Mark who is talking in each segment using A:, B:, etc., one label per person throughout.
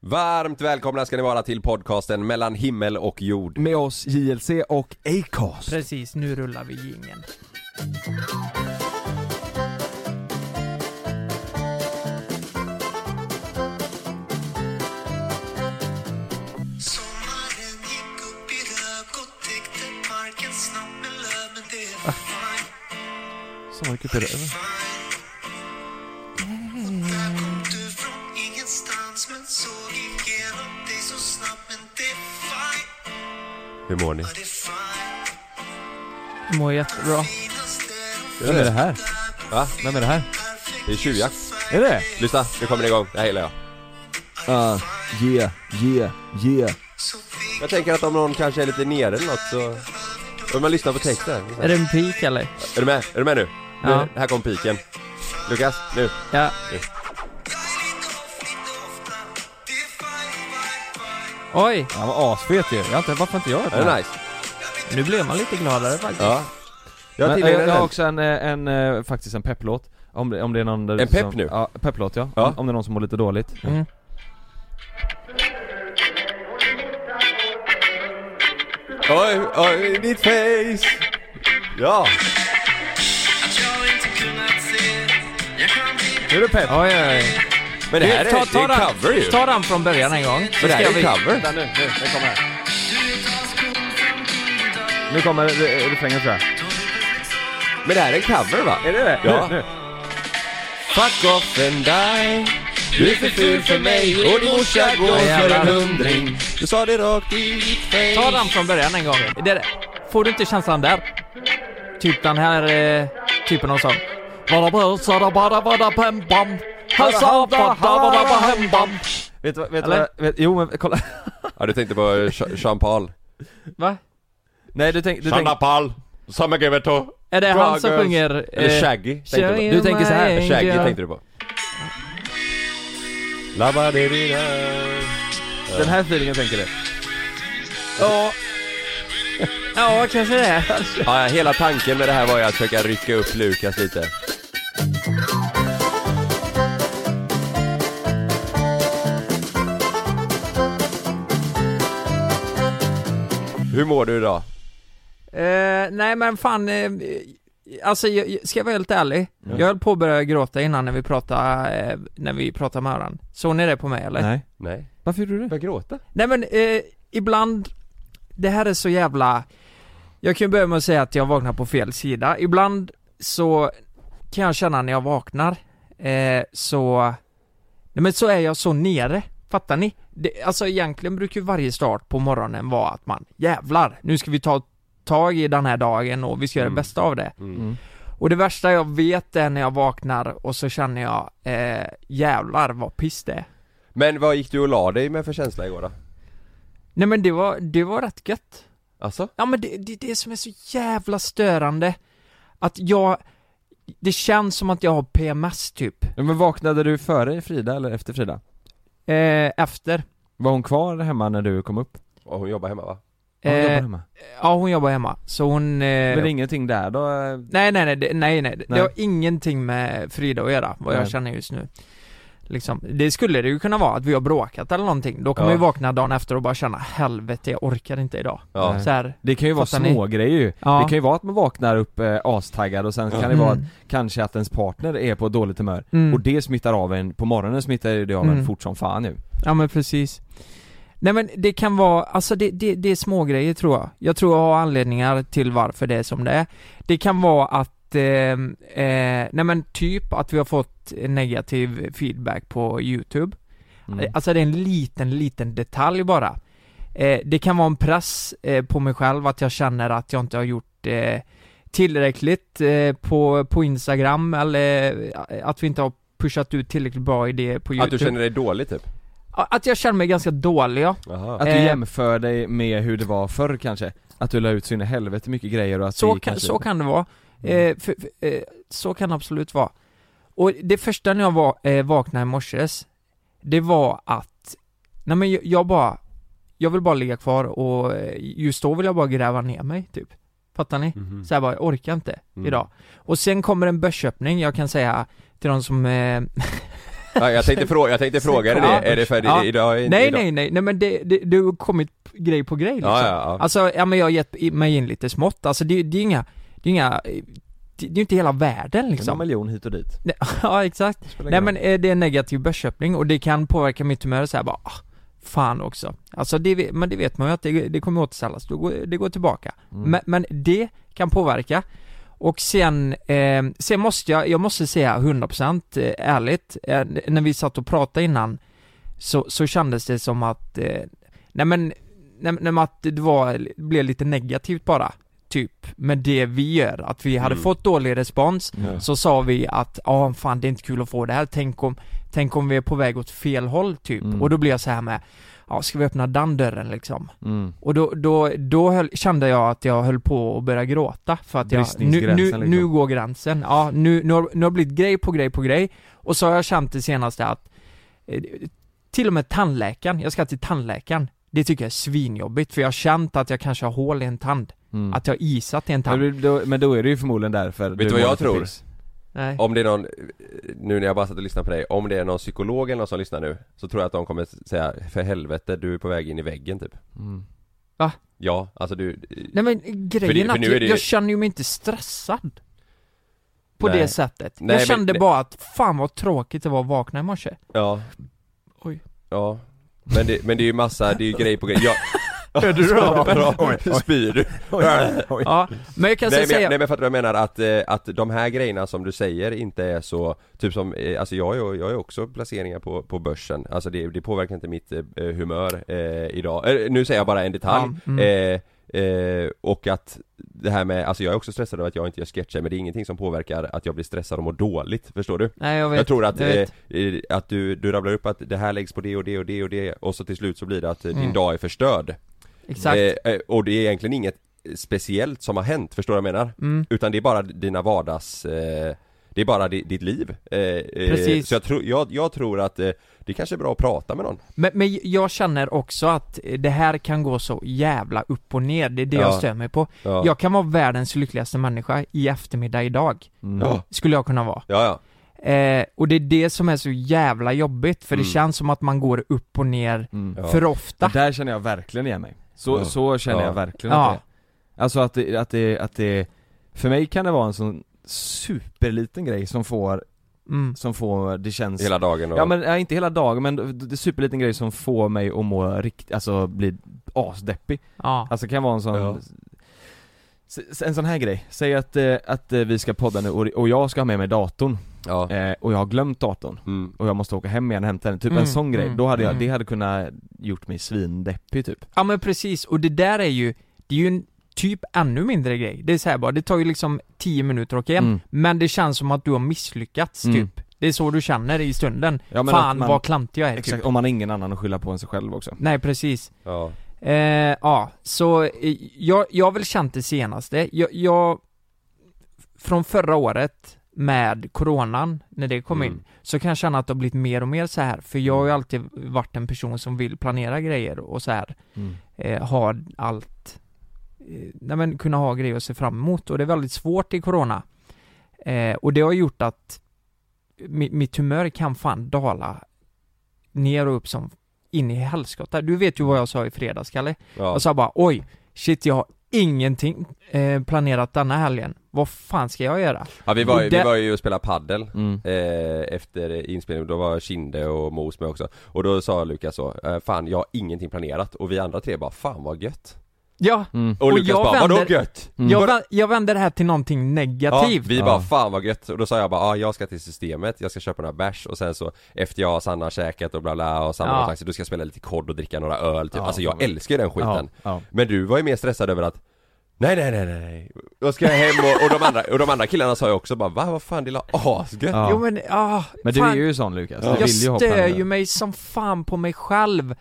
A: Varmt välkomna ska ni vara till podcasten mellan himmel och jord.
B: Med oss JLC och Acast.
C: Precis, nu rullar vi jingeln.
D: Sommaren gick upp i rök och täckte parken snabbt med löv Men det
A: Ah.
D: är fine,
E: Så mycket för det.
D: fine Och där kom du från ingenstans men såg igenom dig så snabbt Men det är fine,
A: Hur mår ni?
D: ja det är fine
C: Mår jättebra.
D: Finaste och
E: Vem är det här?
A: Va?
E: Vem är det här?
A: Det är tjuvjakt.
E: Är det?
A: Lyssna, nu kommer det igång. Det här gillar jag.
B: Ah, yeah, yeah, yeah.
D: så vi
A: Jag tänker att om någon kanske är lite nere eller något så... Om man lyssnar på texten.
C: Är det en pik eller?
A: Är du med? Är du med nu?
C: Ja.
A: Nu, här kom piken. Lukas, nu.
C: Ja.
D: Jag är lite off, lite ofta Det är fine, fine, fine
C: Oj,
E: Han var asfet ju. Jag har inte, varför inte jag
A: Är det nice?
C: nu blev man lite gladare faktiskt.
A: Ja. Jag
E: Men, jag,
A: tillhör
E: jag har
A: den.
E: också en, eh, en, eh, faktiskt en pepplåt. Om det, om det är någon där
A: En pepp
E: som,
A: nu?
E: Ja, pepplåt ja.
A: Ja.
E: Om, om det är någon som mår lite dåligt.
C: Mm.
A: Oj, oj, ditt face! Ja!
D: Att jag inte kunnat se Jag kan
E: Nu
D: bli
E: är det pepp!
C: Oj, oj, oj.
A: Men det här är, det är en cover ju.
C: Ta den från början en gång.
A: Men det här är en cover.
E: Vänta nu, nu, den kommer här. Nu kommer re- re- refrängen tror jag.
A: Men det här är en cover va?
E: Är det det?
A: Ja.
E: Nu, nu.
A: Fuck off and die Du är för ful för mig och din morsa går för en hundring Du sa det rakt i ditt face
C: Ta den från början en gång. Det, får du inte känslan där? Typ den här eh, typen av sång. Vada brösada bada bada pem bam. Hasa bada bada bada hem bam.
E: Vet du vad, vet du
C: Eller?
E: vad, vet, jo men kolla.
A: Ja du tänkte på eh, Cha- Jean Paul
C: Va?
E: Nej du, tänk, du, tänk,
A: Paul Samma gave to
C: Är det han som sjunger...
A: Eller
C: eh,
A: Shaggy tänkte du på
E: du tänker så här,
C: Shaggy,
A: Shaggy
C: ja.
A: tänkte du på Labba-di-di-da.
E: den här feelingen tänker du.
C: Ja. Ja, kanske det. är.
A: Ja, hela tanken med det här var ju att försöka rycka upp Lukas lite Hur mår du idag?
C: Eh, nej men fan, eh, alltså jag, jag- ska jag vara helt ärlig?
A: Mm.
C: Jag höll på att börja gråta innan när vi pratade, eh, när vi pratade med varandra. Såg ni det på mig eller? Nej,
E: Nej.
A: Nej
E: Varför gjorde du det?
A: Börjar gråta?
C: men eh, ibland, det här är så jävla, jag kan ju börja med att säga att jag vaknar på fel sida. Ibland så kan jag känna när jag vaknar, eh, så, nej men så är jag så nere. Fattar ni? Det, alltså egentligen brukar ju varje start på morgonen vara att man jävlar, nu ska vi ta tag i den här dagen och vi ska göra
A: Mm.
C: det bästa av det.
A: Mm.
E: Mm.
C: Och det värsta jag vet är när jag vaknar och så känner jag eh, jävlar vad piss det är.
A: Men vad gick du och la dig med för känsla igår då?
C: Nej men det var, det var rätt gött.
A: Alltså?
C: Ja men det, det är det som är så jävla störande. Att jag, det känns som att jag har PMS typ.
E: Ja, Men vaknade du före Frida eller efter Frida?
C: Eh, efter.
E: Var hon kvar hemma när du kom upp?
A: Och hon jobbar hemma va?
E: Ja, hon
C: Eh,
E: jobbar hemma.
C: Ja hon jobbar hemma. Så hon... Eh,
E: Men det är ingenting där då? eh,
C: Nej nej nej, det- nej nej, det
E: Nej.
C: har ingenting med Frida att göra, vad jag
E: Nej.
C: känner just nu Liksom, det skulle det ju kunna vara att vi har bråkat eller någonting, då kommer
A: Ja.
C: vi vakna dagen efter och bara känna helvete jag orkar inte idag
A: Ja.
E: Nej.
C: så här,
E: Det kan ju vara
C: Fattar ni?
E: små grejer ju.
C: Ja.
E: Det kan ju vara att man vaknar upp eh, astaggad och sen kan det
C: Mm.
E: vara att, kanske att ens partner är på dåligt humör.
C: Mm.
E: Och det smittar av en, på morgonen smittar ju det av en
C: Mm.
E: fort som fan nu.
C: Ja men precis Nej men det kan vara, alltså det, det, det är små grejer tror jag Jag tror jag har anledningar till varför det är som det är Det kan vara att, eh, eh, nej men typ att vi har fått negativ feedback på youtube
E: Mm.
C: Alltså det är en liten, liten detalj bara. Eh, det kan vara en press eh, på mig själv att jag känner att jag inte har gjort eh, tillräckligt eh, på, på Instagram eller eh, att vi inte har pushat ut tillräckligt bra idéer på
A: Att
C: YouTube.
A: du känner dig dålig typ?
C: Att jag känner mig ganska dålig ja.
A: Jaha.
E: Att du
C: Eh.
E: jämför dig med hur det var förr kanske. Att du la ut så in i helvete mycket grejer och att
C: Så,
E: vi
C: kan,
E: kanske...
C: så kan det vara.
A: Mm.
C: Eh, för, för, eh, så kan det absolut vara. Och det första när jag va- eh, vaknade i morses, det var att, nej men jag, jag bara, jag vill bara ligga kvar och eh, just då vill jag bara gräva ner mig typ. Fattar ni?
A: Mhm.
C: Så jag bara, jag orkar inte
A: Mm.
C: idag. Och sen kommer en börsöppning, jag kan säga till de som eh,
A: Ja, jag tänkte fråga, jag tänkte fråga dig
C: Ja.
A: det, är det för
C: Ja.
A: idag? i-
C: Nej
A: idag?
C: nej nej, nej men det, det, det har kommit p- grej på grej liksom.
A: Ja, ja, ja.
C: Alltså, ja men jag har gett i- mig in lite smått, alltså det, det är inga, det är inga, det, det är ju inte hela världen
E: En
C: liksom.
E: miljon hit och dit.
C: Nej, ja exakt. Nej men eh, det är en negativ börsköpning och det kan påverka mitt humör såhär bara, ah, fan också. Alltså det, ve- men det vet man ju att det, det kommer återställas, det går, det går tillbaka. Men, men det kan påverka. Och sen, eh, sen måste jag, jag måste säga 100% eh, ärligt, eh, när vi satt och pratade innan så, så kändes det som att, eh, nej men, nej, nej, men att det var, blev lite negativt bara. Typ, med det vi gör, att vi hade
A: Mm.
C: fått dålig respons,
A: Ja.
C: så sa vi att ja fan det är inte kul att få det här, tänk om, tänk om vi är på väg åt fel håll typ.
E: Mm.
C: Och då blev jag så här med, ja ska vi öppna den dörren liksom?
E: Mm.
C: Och då, då, då höll, kände jag att jag höll på att börja gråta för att jag, nu,
E: Bristningsgränsen,
C: nu,
E: liksom.
C: nu går gränsen. Ja, nu, nu, har, nu har det blivit grej på grej på grej. Och så har jag känt det senaste att, eh, till och med tandläkaren, jag ska till tandläkaren. Det tycker jag är svinjobbigt för jag har känt att jag kanske har hål i en tand.
E: Mm.
C: Att jag har isat i en tand.
E: Men, då, men då är det ju förmodligen därför
A: du
E: du
A: vad jag
E: mår lite
A: tror?
E: piss.
C: Nej.
A: Om det är någon, nu när jag bara satt och lyssnade på dig, om det är någon psykolog eller någon som lyssnar nu Så tror jag att de kommer säga, för helvete du är på väg in i väggen typ
E: Mm.
C: Va?
A: Ja, alltså du
C: Nej men
A: För
C: grejen
A: det-
C: är
A: för
C: att
A: nu
C: jag,
A: är det ju-
C: jag känner ju mig inte stressad På
A: Nej.
C: det sättet
A: Nej, men-
C: Jag kände
A: nej.
C: bara att fan vad tråkigt det var att vakna i morse
A: Ja
C: Oj.
A: Ja Men det, men det är ju massa, det är ju grej på grej jag,
E: Hör du
A: Bra. Spyr du? Äh.
C: Ja, men jag kan
A: Nej
C: säga
A: men, jag, nej men fattar du vad jag menar? Att, eh, att de här grejerna som du säger inte är så, typ som, eh, alltså jag är, jag är också placeringar på, på börsen Alltså det, det påverkar inte mitt eh, humör eh, idag, eh, nu säger jag bara en detalj
C: Ja, mm.
A: eh, eh, Och att det här med, alltså jag är också stressad över att jag inte gör sketcher men det är ingenting som påverkar att jag blir stressad och mår dåligt, förstår du?
C: Nej jag vet
A: Jag tror att,
C: jag
A: eh,
C: vet.
A: eh, att du, du rabblar upp att det här läggs på det och det och det och det och så till slut så blir det att eh, din
C: Mm.
A: dag är förstörd
C: Exakt
A: Eh, eh, och det är egentligen inget eh, speciellt som har hänt, förstår du vad jag menar?
C: mm.
A: Utan det är bara dina vardags... Eh, det är bara di, ditt liv. Eh, eh,
C: Precis.
A: Så jag, tror- jag, jag tror att eh, det kanske är bra att prata med någon.
C: men, men jag känner också att eh, det här kan gå så jävla upp och ner Det är det jag
A: Ja.
C: stör mig på
A: Ja, ja.
C: Jag kan vara världens lyckligaste människa i eftermiddag idag
A: ja.
C: Skulle jag kunna vara
A: ja.
C: eh, Och det är det som är så jävla jobbigt För
A: Mm.
C: det känns som att man går upp och ner
E: Mm.
A: Ja.
C: för ofta
E: Det Där känner jag verkligen igen mig. Så,
A: Ja.
E: så känner
A: Ja.
E: jag verkligen
C: Ja.
E: att det Alltså att det, att det, att det För mig kan det vara en sån superliten grej som får,
C: mm.
E: som får, det känns
A: Hela dagen och...
E: Ja men, nej, inte hela dagen men det det är superliten grej som får mig att må riktigt, alltså bli asdeppig
C: Ja,
E: Alltså det kan vara en sån
A: Ja.
E: S- s- En sån här grej, säg att, eh, att eh, vi ska podda nu och, och jag ska ha med mig datorn
A: ja.
E: eh, och jag har glömt datorn
A: Mm.
E: och jag måste åka hem igen och hämta den, typ
C: Mm,
E: en sån grej,
C: mm,
E: då hade jag,
C: mm.
E: det hade kunnat gjort mig svindeppig typ
C: ja men precis, och det där är ju, det är ju en typ ännu mindre grej. Det är så här bara, det tar ju liksom 10 minuter att åka hem,
E: Mm.
C: men det känns som att du har misslyckats
E: Mm.
C: typ. Det är så du känner i stunden.
E: Ja, men
C: Fan
E: att man-
C: vad klantig jag är
E: Exakt,
C: typ.
E: om man har ingen annan att skylla på än sig själv också
C: Nej precis.
A: Ja.
C: Eh, ja, så eh, jag, jag har väl känt det senaste. Jag, jag från förra året med coronan, när det kom
A: Mm.
C: in, så kan jag känna att det har blivit mer och mer så här. För jag har
E: Mm.
C: ju alltid varit en person som vill planera grejer och så här. eh, ha allt, eh, nej men kunna ha grejer att se fram emot och det är väldigt svårt i corona. Eh, och det har gjort att mi- mitt humör kan fan dala ner och upp som in i helskotta. Du vet ju vad jag sa i fredags Kalle.
A: Ja.
C: Jag sa bara oj, shit jag har ingenting eh, planerat denna helgen. Vad fan ska jag göra?
A: ja vi, var, ju-
C: och det-
A: vi var ju och spelade paddel
E: Mm.
A: Eh, efter inspelningen, då var Kinde och Mos med också Och då sa Lukas så, eh, fan jag har ingenting planerat och vi andra tre bara, fan vad gött
C: Ja,
E: Mm.
A: Och,
C: Och
A: Lukas
C: jag
A: bara, vadå
C: vänder-
A: gött?
E: Mm.
C: jag, vä- jag vänder det här till någonting negativt.
A: Ja, vi bara
E: Ja.
A: 'Fan vad gött' och då sa jag bara ah, 'Jag ska till systemet, jag ska köpa några bärs' och sen så Efter jag och Sanna har käkat och bla bla och samma
C: Ja.
A: ja. då ska jag spela lite kod och dricka några öl typ.
E: Ja,
A: Alltså
E: fan
A: jag
E: vad-
A: älskar ju den skiten
E: Ja, ja.
A: Men du var ju mer stressad över att Nej nej nej nej, nej Då ska jag hem och, och, de, andra, och de andra killarna sa ju också bara 'Va vad fan det är la asgött'
E: Ja.
C: Jo men, ah,
E: Men du
C: fan.
E: är ju sån Lukas, du
C: Jag
E: vill ju hoppa
C: stör
E: över.
C: ju mig som fan på mig själv.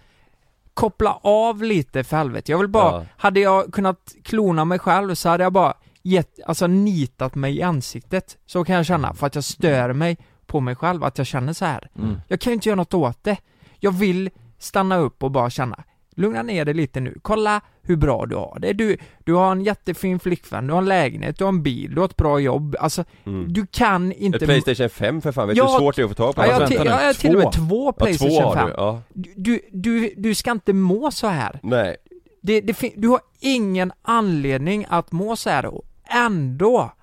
C: Koppla av lite för helvete. Jag vill bara,
A: Ja.
C: hade jag kunnat klona mig själv så hade jag bara gett, alltså nitat mig i ansiktet. Så kan jag känna, för att jag stör mig på mig själv, att jag känner så här.
E: Mm.
C: Jag kan ju inte göra något åt det. Jag vill stanna upp och bara känna, Lugna ner dig lite nu. Kolla hur bra du har det. Du, du har en jättefin flickvän, du har en lägenhet, du har en bil, du har ett bra jobb. Alltså,
A: Mm.
C: du kan inte...
A: Ett Playstation 5 för fan, vet du
C: Ja,
A: hur svårt det är att få tag på?
C: Ja, jag, har
A: Vänta
C: till,
A: nu.
C: jag har till och med två
A: Ja,
C: Playstation
A: två har
C: 5.
A: du, ja.
C: Du, du, du, du ska inte må så här.
A: Nej.
C: Det, det, fin- du har ingen anledning att må så här och ändå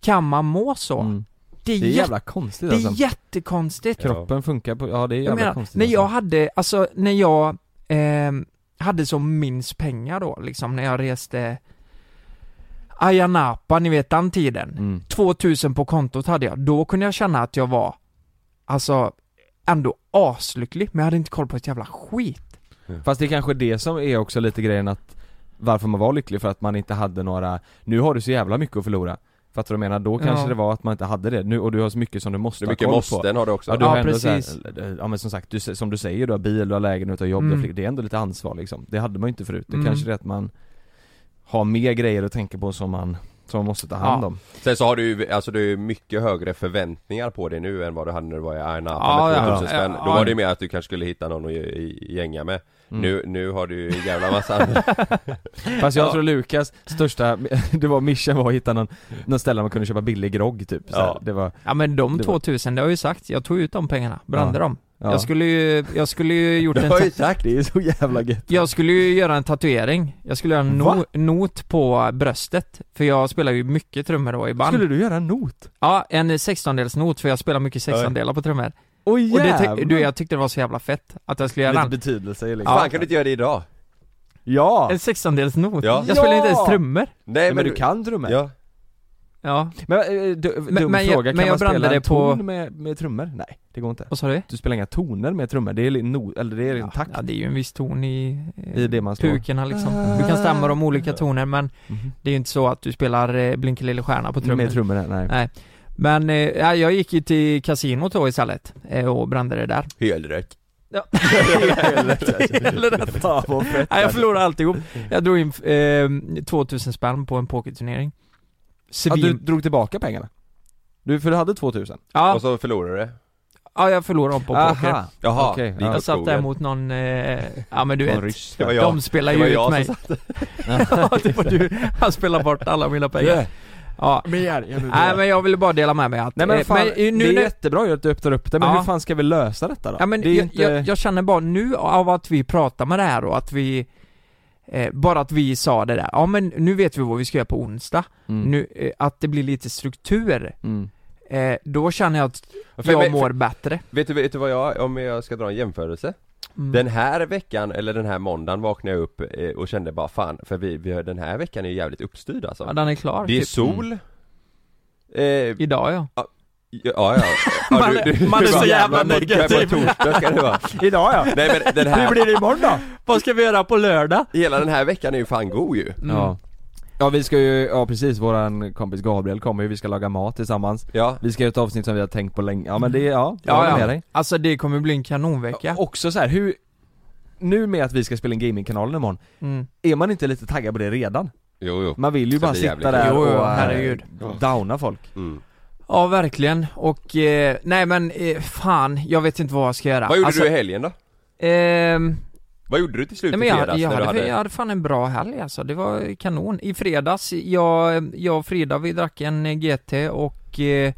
C: kan man må så.
E: Mm.
C: Det är,
E: Det är
C: jätte,
E: jävla konstigt
C: det
E: alltså.
C: är jättekonstigt.
E: Kroppen funkar på, ja det är jävla
C: Jag menar,
E: konstigt
C: när jag
E: alltså.
C: hade, alltså när jag ehm, hade som minst pengar då liksom, när jag reste Ayia Napa, ni vet den tiden.
E: mm.
C: 2000 på kontot hade jag, då kunde jag känna att jag var, alltså, ändå aslycklig, men jag hade inte koll på ett jävla skit.
E: Fast det är kanske det som är också lite grejen att Varför man var lycklig för att man inte hade några Nu har du så jävla mycket att förlora Fattar du vad jag menar? Då
C: Ja.
E: kanske det var att man inte hade det nu och du har så mycket som du måste
A: Hur
E: ha
A: mycket
E: koll på
A: måsten har du också?
E: Ja, du
C: Ja,
E: har ändå
C: precis.
E: precis. ja men som sagt, du, som du säger, du har bil, du har lägenhet, du har jobb, du har
C: Mm.
E: flick- det är ändå lite ansvar liksom. Det hade man ju inte förut. Det
C: Mm.
E: kanske är att man har mer grejer att tänka på som man, som man måste ta hand
C: Ja.
E: om.
A: Sen så har du ju, alltså du har ju mycket högre förväntningar på dig nu än vad du hade när du var i Arna
C: Ja,
A: med
C: ja,
A: 2000
C: ja.
A: spänn. Då
C: Ja.
A: var det ju mer att du kanske skulle hitta någon att ge- gänga med.
E: Mm.
A: Nu, nu har du ju en jävla massa andra.
E: Fast jag tror Lukas största, det var mission var att hitta någon, någon ställe där man kunde köpa billig grogg typ. Så här.
A: Ja.
E: Det var,
C: Ja men de
E: Det var-
C: 2000, det har jag ju sagt, jag tog ut de pengarna, brände dem.
E: ja.
C: Jag skulle ju, jag skulle ju gjort en, ta-
A: sagt
E: Det är så jävla gött.
C: jag skulle ju göra en tatuering, jag skulle göra en no-
E: Va?
C: not på bröstet, för jag spelar ju mycket trummor då i band.
E: Skulle du göra en not?
C: Ja, en 16-delsnot, för jag spelar mycket 16-delar på trummor.
E: Oj
C: Och det, ty- du, jag tyckte det var så jävla fett att jag skulle göra
E: Lite
C: en,
E: betydelse liksom.
A: Fan kan du inte göra det idag?
E: Ja!
C: en 16-delsnot.
A: Ja.
C: Jag spelar inte ens
E: Ja!
C: trummor.
A: Nej
E: men, men du kan trummor?
A: Ja,
C: Ja,
E: Men, eh, du,
C: Men-
E: dum
C: men jag-
E: fråga, kan
C: men jag
E: man
C: brände
E: spela
C: det
E: en
C: på-
E: ton med, med trummor? Nej, det går inte.
C: vad sa du?
E: Du spelar inga toner med trummor, det är, li- no, eller det är en takt
C: Ja, det är ju en viss ton i, eh,
E: i det man slår.
C: pukorna
A: Ah.
C: liksom. Du kan stämma de olika toner men
E: Mhm.
C: det är ju inte så att du spelar eh, Blinker lille stjärna på trummor.
E: Med trummorna, nej.
C: Nej. Men eh, ja, jag gick ju till kasinot då istället eh, och brände det där.
A: helrätt.
C: Eller rätt.
E: Fan vad fett.
C: Nej, jag förlorade alltihop. Jag drog in eh, 2000 spänn på en pokerturnering.
E: Ja, du
C: Svin...
E: drog tillbaka pengarna? Du, för du hade 2000?
C: Ja,
A: Och så förlorar du det.
C: ja, jag förlorade dem på poker.
A: Jaha,
E: Okej,
A: dit
E: ja.
A: åt
C: Jag satt där
A: skogen.
C: mot någon, eh, ja men du
E: Någon
C: vet,
E: ryss.
A: Det var jag.
C: de spelar
A: Det
C: ju
A: var
C: ut
A: jag
C: mig.
A: som satt
C: Ja, det var du. Han spelar bort alla mina pengar. Ja. Nej men jag ville bara dela med mig att...
E: Mm. Nej men fan,
C: eh, men
E: det
C: nu
E: är
C: när,
E: jättebra ju att du öppnar upp det, men
C: Ja.
E: hur fan ska vi lösa detta då?
C: ja, men
E: det är
C: jag,
E: ju inte...
C: jag, jag känner bara nu av att vi pratar med det här och att vi... Eh, bara att vi sa det där, ja men nu vet vi vad vi ska göra på onsdag.
E: Mm.
C: Nu, eh, att det blir lite struktur.
E: Mm.
C: Eh, då känner jag att
A: För-
C: jag
A: men-
C: mår bättre.
A: Vet du, vet du vad jag, om jag ska dra en jämförelse?
C: Mm.
A: Den här veckan, eller den här måndagen vaknade jag upp eh, och kände bara fan, för vi, vi, den här veckan är ju jävligt uppstyrd alltså.
C: ja, den är klar.
A: Det är Mm.
C: typ.
A: sol
C: Mm.
A: Eh,
C: Idag ja.
A: Ja, ja. ja
C: Man- man är så jävla negativ.
A: På torsdag ska det vara.
E: Idag ja!
A: Nej men den
E: Hur
A: här,
E: blir det imorgon då?
C: Vad ska vi göra på lördag?
A: hela den här veckan är ju fan god ju.
C: Mm.
E: Ja. ja vi ska ju, ja precis, våran kompis Gabriel kommer ju, vi ska laga mat tillsammans
A: Ja.
E: Vi ska göra ett avsnitt som vi har tänkt på länge, ja men det, ja, jag
C: Ja,
E: håller med
C: ja.
E: dig
C: Alltså det kommer bli en kanonvecka.
E: Också så här, hur Nu med att vi ska spela in gamingkanalen imorgon
C: Mm.
E: Är man inte lite taggad på det redan?
A: Jo, jo.
E: Man vill ju
A: Det
E: bara
A: blir
E: sitta
A: jävligt
E: där
C: kul. Jo,
E: och
C: jo,
E: eh,
C: herregud.
E: downa folk
A: Mm.
C: Ja, verkligen. Och, eh, nej men eh, fan, jag vet inte vad jag ska göra.
A: Vad gjorde
C: alltså,
A: du i helgen då?
C: Ehm,
A: Vad gjorde du till slut
C: nej,
A: i
C: men jag,
A: fredags
C: jag,
A: när du
C: hade,
A: hade...
C: jag hade fan en bra helg alltså, det var kanon. I fredags, jag, jag och Frida vi drack en eh, GT och eh,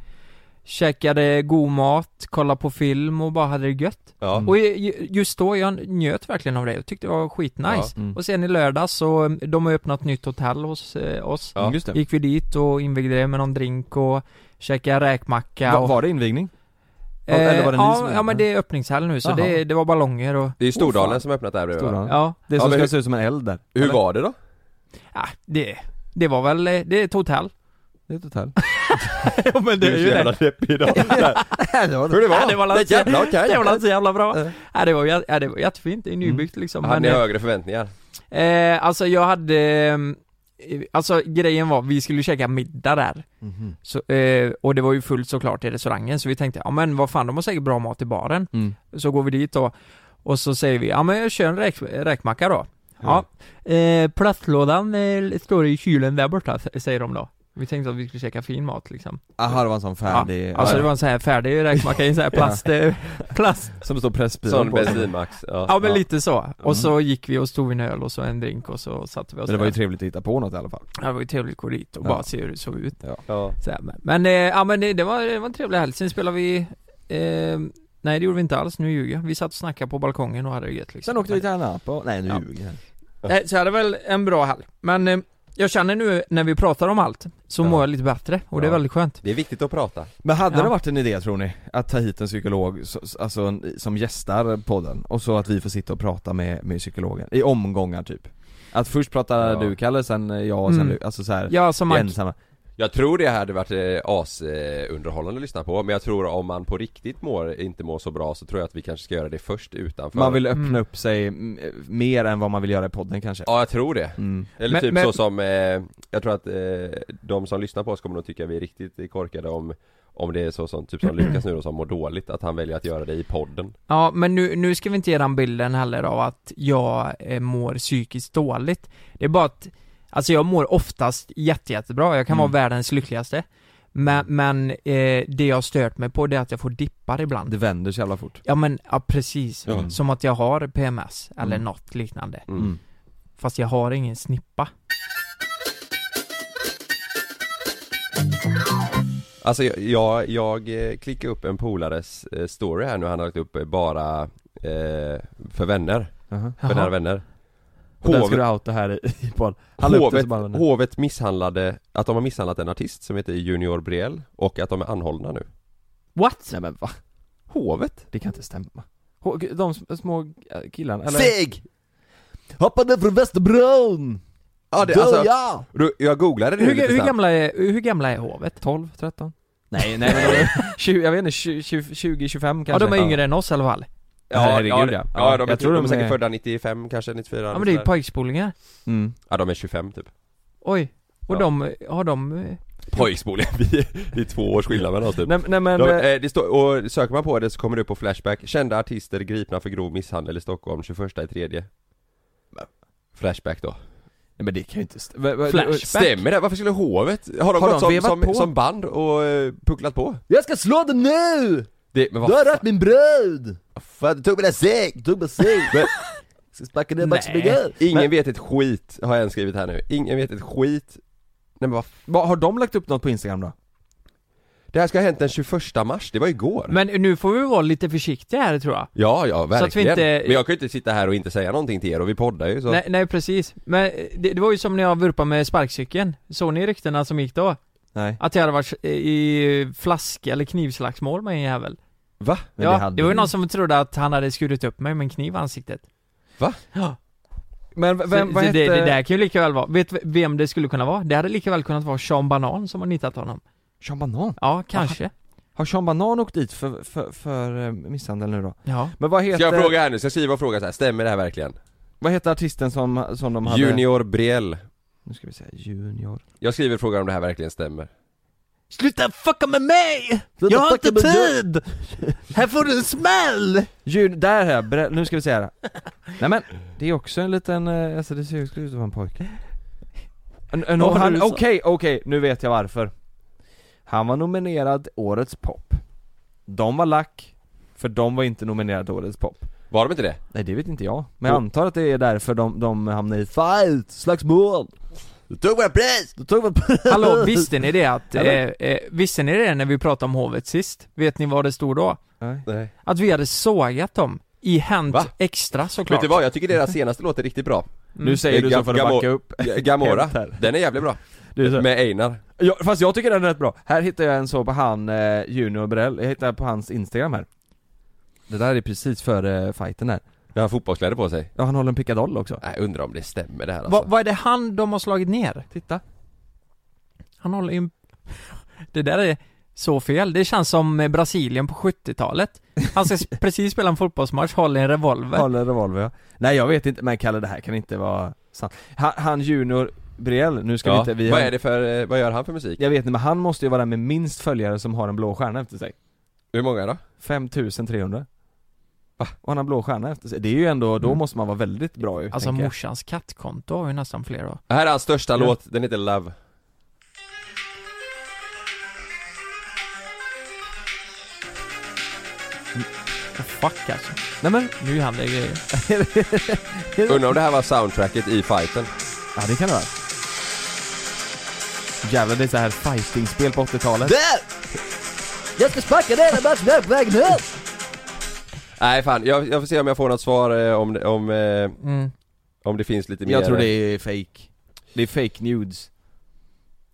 C: käkade god mat, kollade på film och bara hade det gött.
A: Ja.
E: Mm.
C: Och eh, ju- just då, jag njöt verkligen av det. Jag tyckte det var skitnice.
E: Ja. Mm.
C: Och sen i lördags så, eh, de har öppnat nytt hotell hos eh, oss.
A: Ja.
E: Mm, Just det
C: Gick vi dit och invigde det med någon drink och käkade räkmacka
E: Va,
C: och...
E: Var det invigning?
C: Eh,
E: Eller var det ni som
C: ja,
E: gjorde
C: ja men
E: det?
C: det är öppningshelg nu så
E: Jaha.
C: det, det var ballonger och,
A: Det är ju Stordalen
E: Åh, fan.
A: som öppnat där bredvid va?
E: Stora.
C: ja,
E: Det
A: Ja,
E: som
A: men
E: ska
A: hur-
E: se ut som en eld där
A: Hur
E: Eller?
A: var det då?
C: ja det, det var väl, eh, det är ett hotell.
E: Det är ett hotell
C: ja men
A: Du är så jävla deppig idag. Hur det
C: Ja,
A: var?
C: det var
A: det
C: lite-
A: jävla okej.
C: Det var inte så jävla bra.
E: Eh.
C: Ja, det, var, jä- ja, det var jättefint, det är nybyggt liksom.
A: Hade
C: Men,
A: Mm. ni
C: eh,
A: högre förväntningar?
C: eh, alltså jag hade, eh, alltså grejen var, vi skulle käka middag där.
E: Mhm.
C: Så, eh, och det var ju fullt såklart i restaurangen så vi tänkte, ja men vad fan de har säkert bra mat i baren.
E: mm.
C: Så går vi dit och, och så säger vi, ja men jag kör en räk, räkmacka då. Ja. Eh, plastlådan eh, står i kylen där borta, s- säger de då. Vi tänkte att vi skulle käka fin mat liksom
E: Aha, det var en sån färdig...
C: ja, Alltså det var en sån här färdig räkmacka i en sån här plast, eh, plast
E: Som står pressbilen
A: Sån
E: på. Men
A: bensinmax, ja.
C: Ja men lite så, och så gick vi och tog en öl och så en drink och så satte vi oss
E: Mm. det var ju
C: där.
E: trevligt att hitta på något i alla fall.
C: Ja, det var ju trevligt att gå dit och
E: Ja.
C: bara se hur det såg ut
A: Ja.
C: så här, men, men, eh, ja men det, det, var, det var en trevlig helg, sen spelade vi eh, Nej det gjorde vi inte alls, nu ljuger jag. Vi satt och snackade på balkongen och hade det gött liksom
E: Sen åkte vi till Anapa, nej nu
C: Ja.
E: ljuger jag.
C: Nej, så jag hade väl en bra helg. Men eh, jag känner nu när vi pratar om allt så
A: Ja.
C: mår jag lite bättre och det är
A: Ja.
C: väldigt skönt.
A: Det är viktigt att prata
E: Men hade
C: Ja.
E: det varit en idé tror ni? Att ta hit en psykolog, s- s- alltså en- som gästar podden, och så att vi får sitta och prata med, med psykologen, i omgångar typ? Att först pratar
A: Ja.
E: du Kalle, sen jag, och sen
C: Mm.
E: du, alltså såhär,
C: Ja, som man,
E: ensamma
A: Jag tror det hade varit eh, asunderhållande att lyssna på Men jag tror om man på riktigt mår, inte mår så bra så tror jag att vi kanske ska göra det först utanför
E: Man vill öppna
C: Mm.
E: upp sig mm, mer än vad man vill göra i podden kanske
A: Ja jag tror det
E: Mm.
A: Eller
C: Men-
A: typ
C: men-
A: så som, eh, jag tror att eh, de som lyssnar på oss kommer nog tycka vi är riktigt korkade om om det är så som, typ som Lukas nu då som mår dåligt, att han väljer att göra det i podden
C: ja men nu, nu ska vi inte ge den bilden heller av att jag eh, mår psykiskt dåligt. Det är bara att, alltså jag mår oftast jätte, jättebra, jag kan
E: Mm.
C: vara världens lyckligaste. Men, men eh, det jag har stört mig på det är att jag får dippar ibland.
E: Det vänder så jävla fort
C: Ja men, ja precis.
E: Ja.
C: Som att jag har PMS eller
E: Mm.
C: något liknande.
A: Mm.
E: Mm.
C: Fast jag har ingen snippa.
A: Alltså jag, jag, jag eh, klickade upp en polares eh, story här nu, han har lagt upp eh, bara eh, för vänner,
E: Jaha.
A: för nära
C: Jaha.
A: vänner
E: Och den ska
A: Hovet-
E: du outa här i, i podd Han la upp det
A: Hovet,
E: så bara, nej.
A: hovet misshandlade, att de har misshandlat en artist som heter Junior Briel och att de är anhållna nu
C: What?
E: Nej men va?
A: Hovet?
E: Det kan inte stämma H- De s- små äh, killarna, eller?
A: Seg!
E: Hoppade från Västerbron!
A: Ja, det,
E: Dö
A: alltså,
E: ja!
A: du, jag googlade det
C: Hur,
A: lite
C: hur,
A: snabbt.
C: gamla är, hur gamla är hovet?
E: 12, 13? Nej, nej men de är 20, jag vet inte, 20, 20 25
C: Ja
E: kanske
C: de är yngre än oss i alla fall.
A: Ja,
E: Herregud,
A: ja,
E: ja.
A: ja.
E: Ja,
A: ja de, är, typ-
E: jag tror
A: de,
E: de
A: är säkert
E: är-
A: födda 95 kanske, 94
C: Ja
A: eller
C: men det är ju
A: sådär.
C: pojkspolingar.
E: Mm.
A: Ja de är 25 typ
C: Oj. Och
A: Ja.
C: de, har de... eh,
A: Pojkspolen, vi, det är två års skillnad mellan oss typ
E: Nej, nej men,
A: de,
E: eh,
A: eh, det står, och söker man på det så kommer det upp på Flashback Kända artister gripna för grov misshandel i Stockholm 21 i tredje Flashback då
E: nej men det kan ju inte stämma
C: Flash. Back.
A: Stämmer det? Varför skulle hovet? Har de
E: Har
A: gått
E: de vevat
A: som,
E: på?
A: som, som band och eh, pucklat på?
E: Jag ska slå dig nu!
A: Det, men vad fan,
E: min brud!
A: fan, du tog mina säng!
E: Tog bensin! Ska sparka ner
C: Max Miguel.
A: Ingen vet ett skit, har jag en skrivit här nu. Ingen vet ett skit. Nej men vad f-
E: Va, har de lagt upp något på Instagram då?
A: Det här ska ha hänt den 21 mars, det var igår.
C: Men nu får vi vara lite försiktiga här tror jag.
A: Ja, ja, verkligen.
C: att vi inte-
A: Men jag kan ju inte sitta här och inte säga någonting till er och vi poddar ju så.
C: Nej, nej precis. Men eh, det, det var ju som när jag vurpade med sparkcykeln. Såg ni ryktena som gick då?
E: Nej
C: Att jag hade varit eh, i flask eller knivslagsmål med en jävel.
A: Va?
E: Men
C: ja,
E: det
C: det,
E: hade
C: var ju
E: vi.
C: någon som trodde att han hade skurit upp mig med en kniv i ansiktet.
A: Va?
C: Ja.
E: Men v- vem,
C: så,
E: vad
C: så
E: hette...
C: det, det där kan ju lika väl vara. Vet v- vem det skulle kunna vara? Det hade lika väl kunnat vara Sean Banan som har nitat honom.
E: Sean Banan?
C: Ja, kanske.
E: Har Sean Banan åkt dit för, för, för eh, misshandel nu då?
C: Ja.
E: Men vad heter,
A: Ska jag fråga här nu, ska jag skriva och fråga så här, stämmer det här verkligen?
E: vad heter artisten som, som de hade?
A: Junior Briel.
E: Nu ska vi säga Junior
A: Jag skriver frågan om det här verkligen stämmer.
C: Sluta fucka med mig!
E: Sluta fucka med
C: Här får du en smäll!
E: Jun, där här, bre- nu ska vi se här Nej men, det är också en liten, eh, alltså det ser ju ut att vara en pojke En- en-
C: Vad
E: och
C: var det
E: han-
C: du
E: Okej,
C: sa?
E: okej, nu vet jag varför Han var nominerad Årets pop De var lack, för de var inte nominerade Årets pop
A: Var de inte det?
E: Nej det vet inte jag, men jag antar att det är därför de, de hamnar i fight, slagsmål
A: Du tog våra pris!
E: Då tog man
C: Hallå, visste ni det att, eh,
E: Eller?
C: eh, visste ni det när vi pratade om hovet sist? Vet ni vad det stod då?
E: Nej.
A: Nej.
C: Att vi hade sågat dem i Hänt
A: Va?
C: Extra såklart Mm.
A: Vet du vad, jag tycker deras senaste låt är riktigt bra.
E: Nu säger du
A: Gam-
E: så för att
A: Gamora.
E: backa upp
A: Gamora,
E: Helt här.
A: den är jävligt bra.
E: du, är så,
A: Med Einar.
E: ja, Fast jag tycker den är rätt bra, här hittar jag en så på han eh, Junior Brell, jag hittar på hans instagram här Det där är precis före eh, fighten här,
A: När han har fotbollskläder på sig.
E: ja han håller en pickadoll också
A: Nej, undrar om det stämmer det här
C: Va,
A: alltså.
C: Vad är det han de har slagit ner?
E: Titta,
C: Han håller ju en... Det där är så fel, det känns som eh, Brasilien på 70-talet Han ska s- precis spela en fotbollsmatch, håller en revolver
E: håller revolver ja. Nej jag vet inte, men Kalle det här kan inte vara sant Han, han Junior Brell, nu ska vi
A: Ja.
E: inte, vi
A: Vad
E: har-
A: är det för, eh, vad gör han för musik?
E: Jag vet inte, men han måste ju vara den med minst följare som har en blå stjärna efter sig
A: Hur många då?
E: 5300 Va? Och han har blå stjärna efter sig, det är ju ändå, då
A: Mm.
E: måste man vara väldigt bra ju
C: Alltså
E: tänker jag.
C: morsans kattkonto har ju nästan fler då
A: Här är hans största
E: Ja.
A: låt, den heter Love
C: Oh, fuck alltså.
E: Nej men,
C: Nu händer det grejer.
A: Undrar om det här var soundtracket i fighten?
E: ja det kan det vara. Jävlar det är så här fightingspel på 80-talet.
A: Nej fan, jag, jag får se om jag får något svar eh, om, det- om, eh,
C: Mm.
A: om det finns lite mer
E: Jag tror det är fake. Det är fake nudes.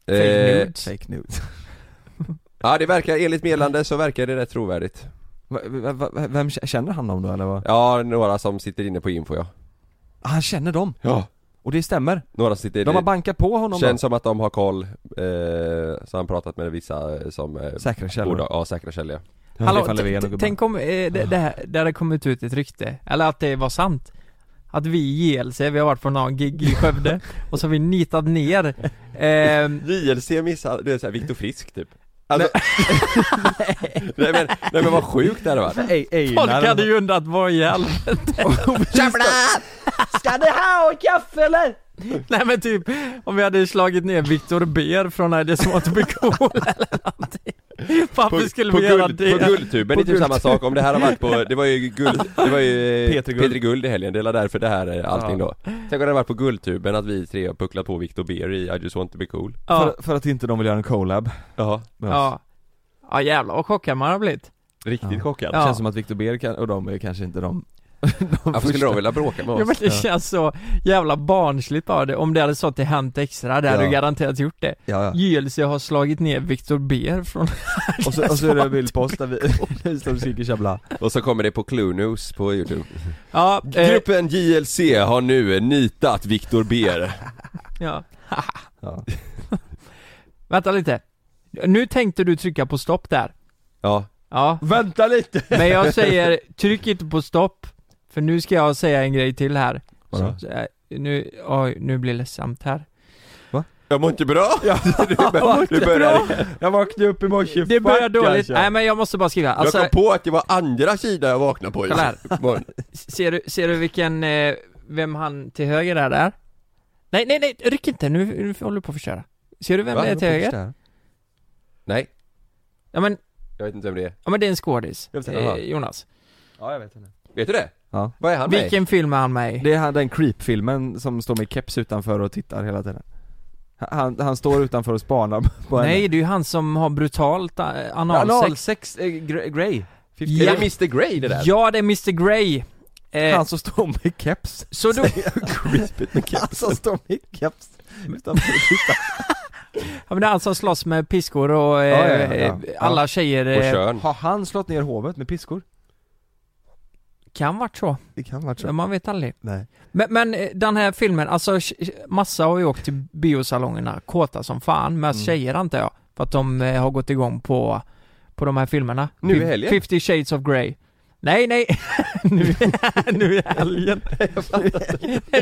A: eh,
C: Fake nudes.
E: Fake nudes.
A: Ja det verkar, enligt meddelande så verkar det rätt trovärdigt
E: Va, va, va, vem k- känner han dem då eller vad?
A: Ja, några som sitter inne på info ja
E: Ah, Han känner dem!
A: Ja
E: Och det stämmer.
A: Några som sitter
E: De har bankat på honom
A: Känns
E: då.
A: som att de har koll, eh, så han pratat med vissa eh, som eh,
E: Säkra källor.
A: borde- ja, säkra källor ja.
C: Hallå,
E: Stefan Löfven och
C: t- t-
E: gubbarna.
C: tänk om eh, det, det här, det hade kommit ut ett rykte, eller att det var sant Att vi i JLC, vi har varit på någon gig i Skövde och så har vi nitat ner ehm,
A: JLC missar, du är såhär Viktor Frisk typ alltså, nej. men, nej men vad sjukt det hade varit
E: Ej- Einar-
C: Folk hade ju undrat vad i helvete
D: Ska du ha kaffe eller?
C: Nej men typ, om vi hade slagit ner Viktor Ber från I just want to be cool eller någonting Varför skulle
A: på,
C: vi göra
A: guld,
C: det?
A: på Guldtuben,
C: På
A: det är typ samma
C: Guldtuben.
A: sak om det här har varit på, det var ju guld, det var ju eh,
E: Petri Guld.
A: Petri Guld i helgen, det är därför det här är allting då Tänk om det hade varit på Guldtuben att vi tre har pucklat på Victor Beer i I just want to be cool
C: ja,
E: För, för att inte de vill göra en collab.
A: Ja,
E: med oss.
C: ja. ja jävlar vad chockad man har blivit
A: riktigt
E: Ja.
A: chockad
E: Det
C: Ja.
E: känns som att Victor Beer kan, och de är kanske inte de...
A: Varför skulle de vilja bråka med
C: Ja men
A: oss?
C: det känns så jävla barnsligt av det, om det hade stått i Hänt Extra, det hade
E: Ja.
C: du garanterat gjort det
E: Ja, ja.
C: JLC har slagit ner Viktor Beer från...
E: Och så, och så är det en bild på oss där vi, där vi skriker tjabla.
A: Och så kommer det på Clue News på youtube
C: Ja, eh,
A: Gruppen JLC har nu nitat Viktor Beer
C: ja.
E: Ja.
C: Vänta lite. Nu tänkte du trycka på stopp där.
A: Ja,
C: Ja,
E: Vänta lite!
C: men jag säger tryck inte på stopp. För nu ska jag säga en grej till här.
E: Vadå?
C: Så, eh, nu, oj, nu blir det ledsamt här.
A: jag mår inte bra! du, bör, du
C: bra.
A: börjar,
E: Jag vaknade upp i morse, alltså.
C: Det börjar dåligt. Nej men jag måste bara skriva. Alltså,
A: jag kom på att det var andra sidan jag vaknade på
C: Kolla
A: Morgon.
C: ser, du, ser du vilken, eh, vem han till höger är där? Nej, nej, nej, ryck inte. Nu, nu håller du på att förstöra. Ser du vem
A: Va?
C: det är till höger?
A: Nej,
C: Ja men,
A: jag vet inte vem det är
C: ja men det är en skådis.
E: Jag vet inte,
C: Eh,
E: jaha.
C: Jonas.
E: Ja, jag vet inte.
A: Vet du det?
E: Ja.
A: Vad är han med i?
C: Vilken film är han med i?
E: Det är han, den creep-filmen som står med keps utanför och tittar hela tiden. Han, han står utanför och spanar på henne.
C: Nej, det är ju han som har brutalt eh, analsex.
E: Analsex, eh, Gr- Grey.
A: Är
C: Ja.
A: det Mr Grey det där?
C: Ja, det är Mr Grey. Eh,
E: Han som står med keps.
C: så då,
E: Han som står med keps. Utanför och tittar.
C: ja, men det är han som slåss med piskor och eh,
E: Ja, ja, ja, ja.
C: alla tjejer
A: Och
C: eh,
A: Körn
E: Har han slått ner hovet med piskor?
C: kan varit så.
E: Det kan vara
C: Men Man vet aldrig.
E: Nej.
C: Men, men eh, den här filmen, alltså sh- massa har ju åkt till biosalongerna kåta som fan, mest
E: Mm.
C: tjejer antar jag. För att de eh, har gått igång på, på de här filmerna.
A: Nu i
C: Fif-
A: helgen?
C: 50 shades of Grey. Nej, nej, nu, nu i helgen.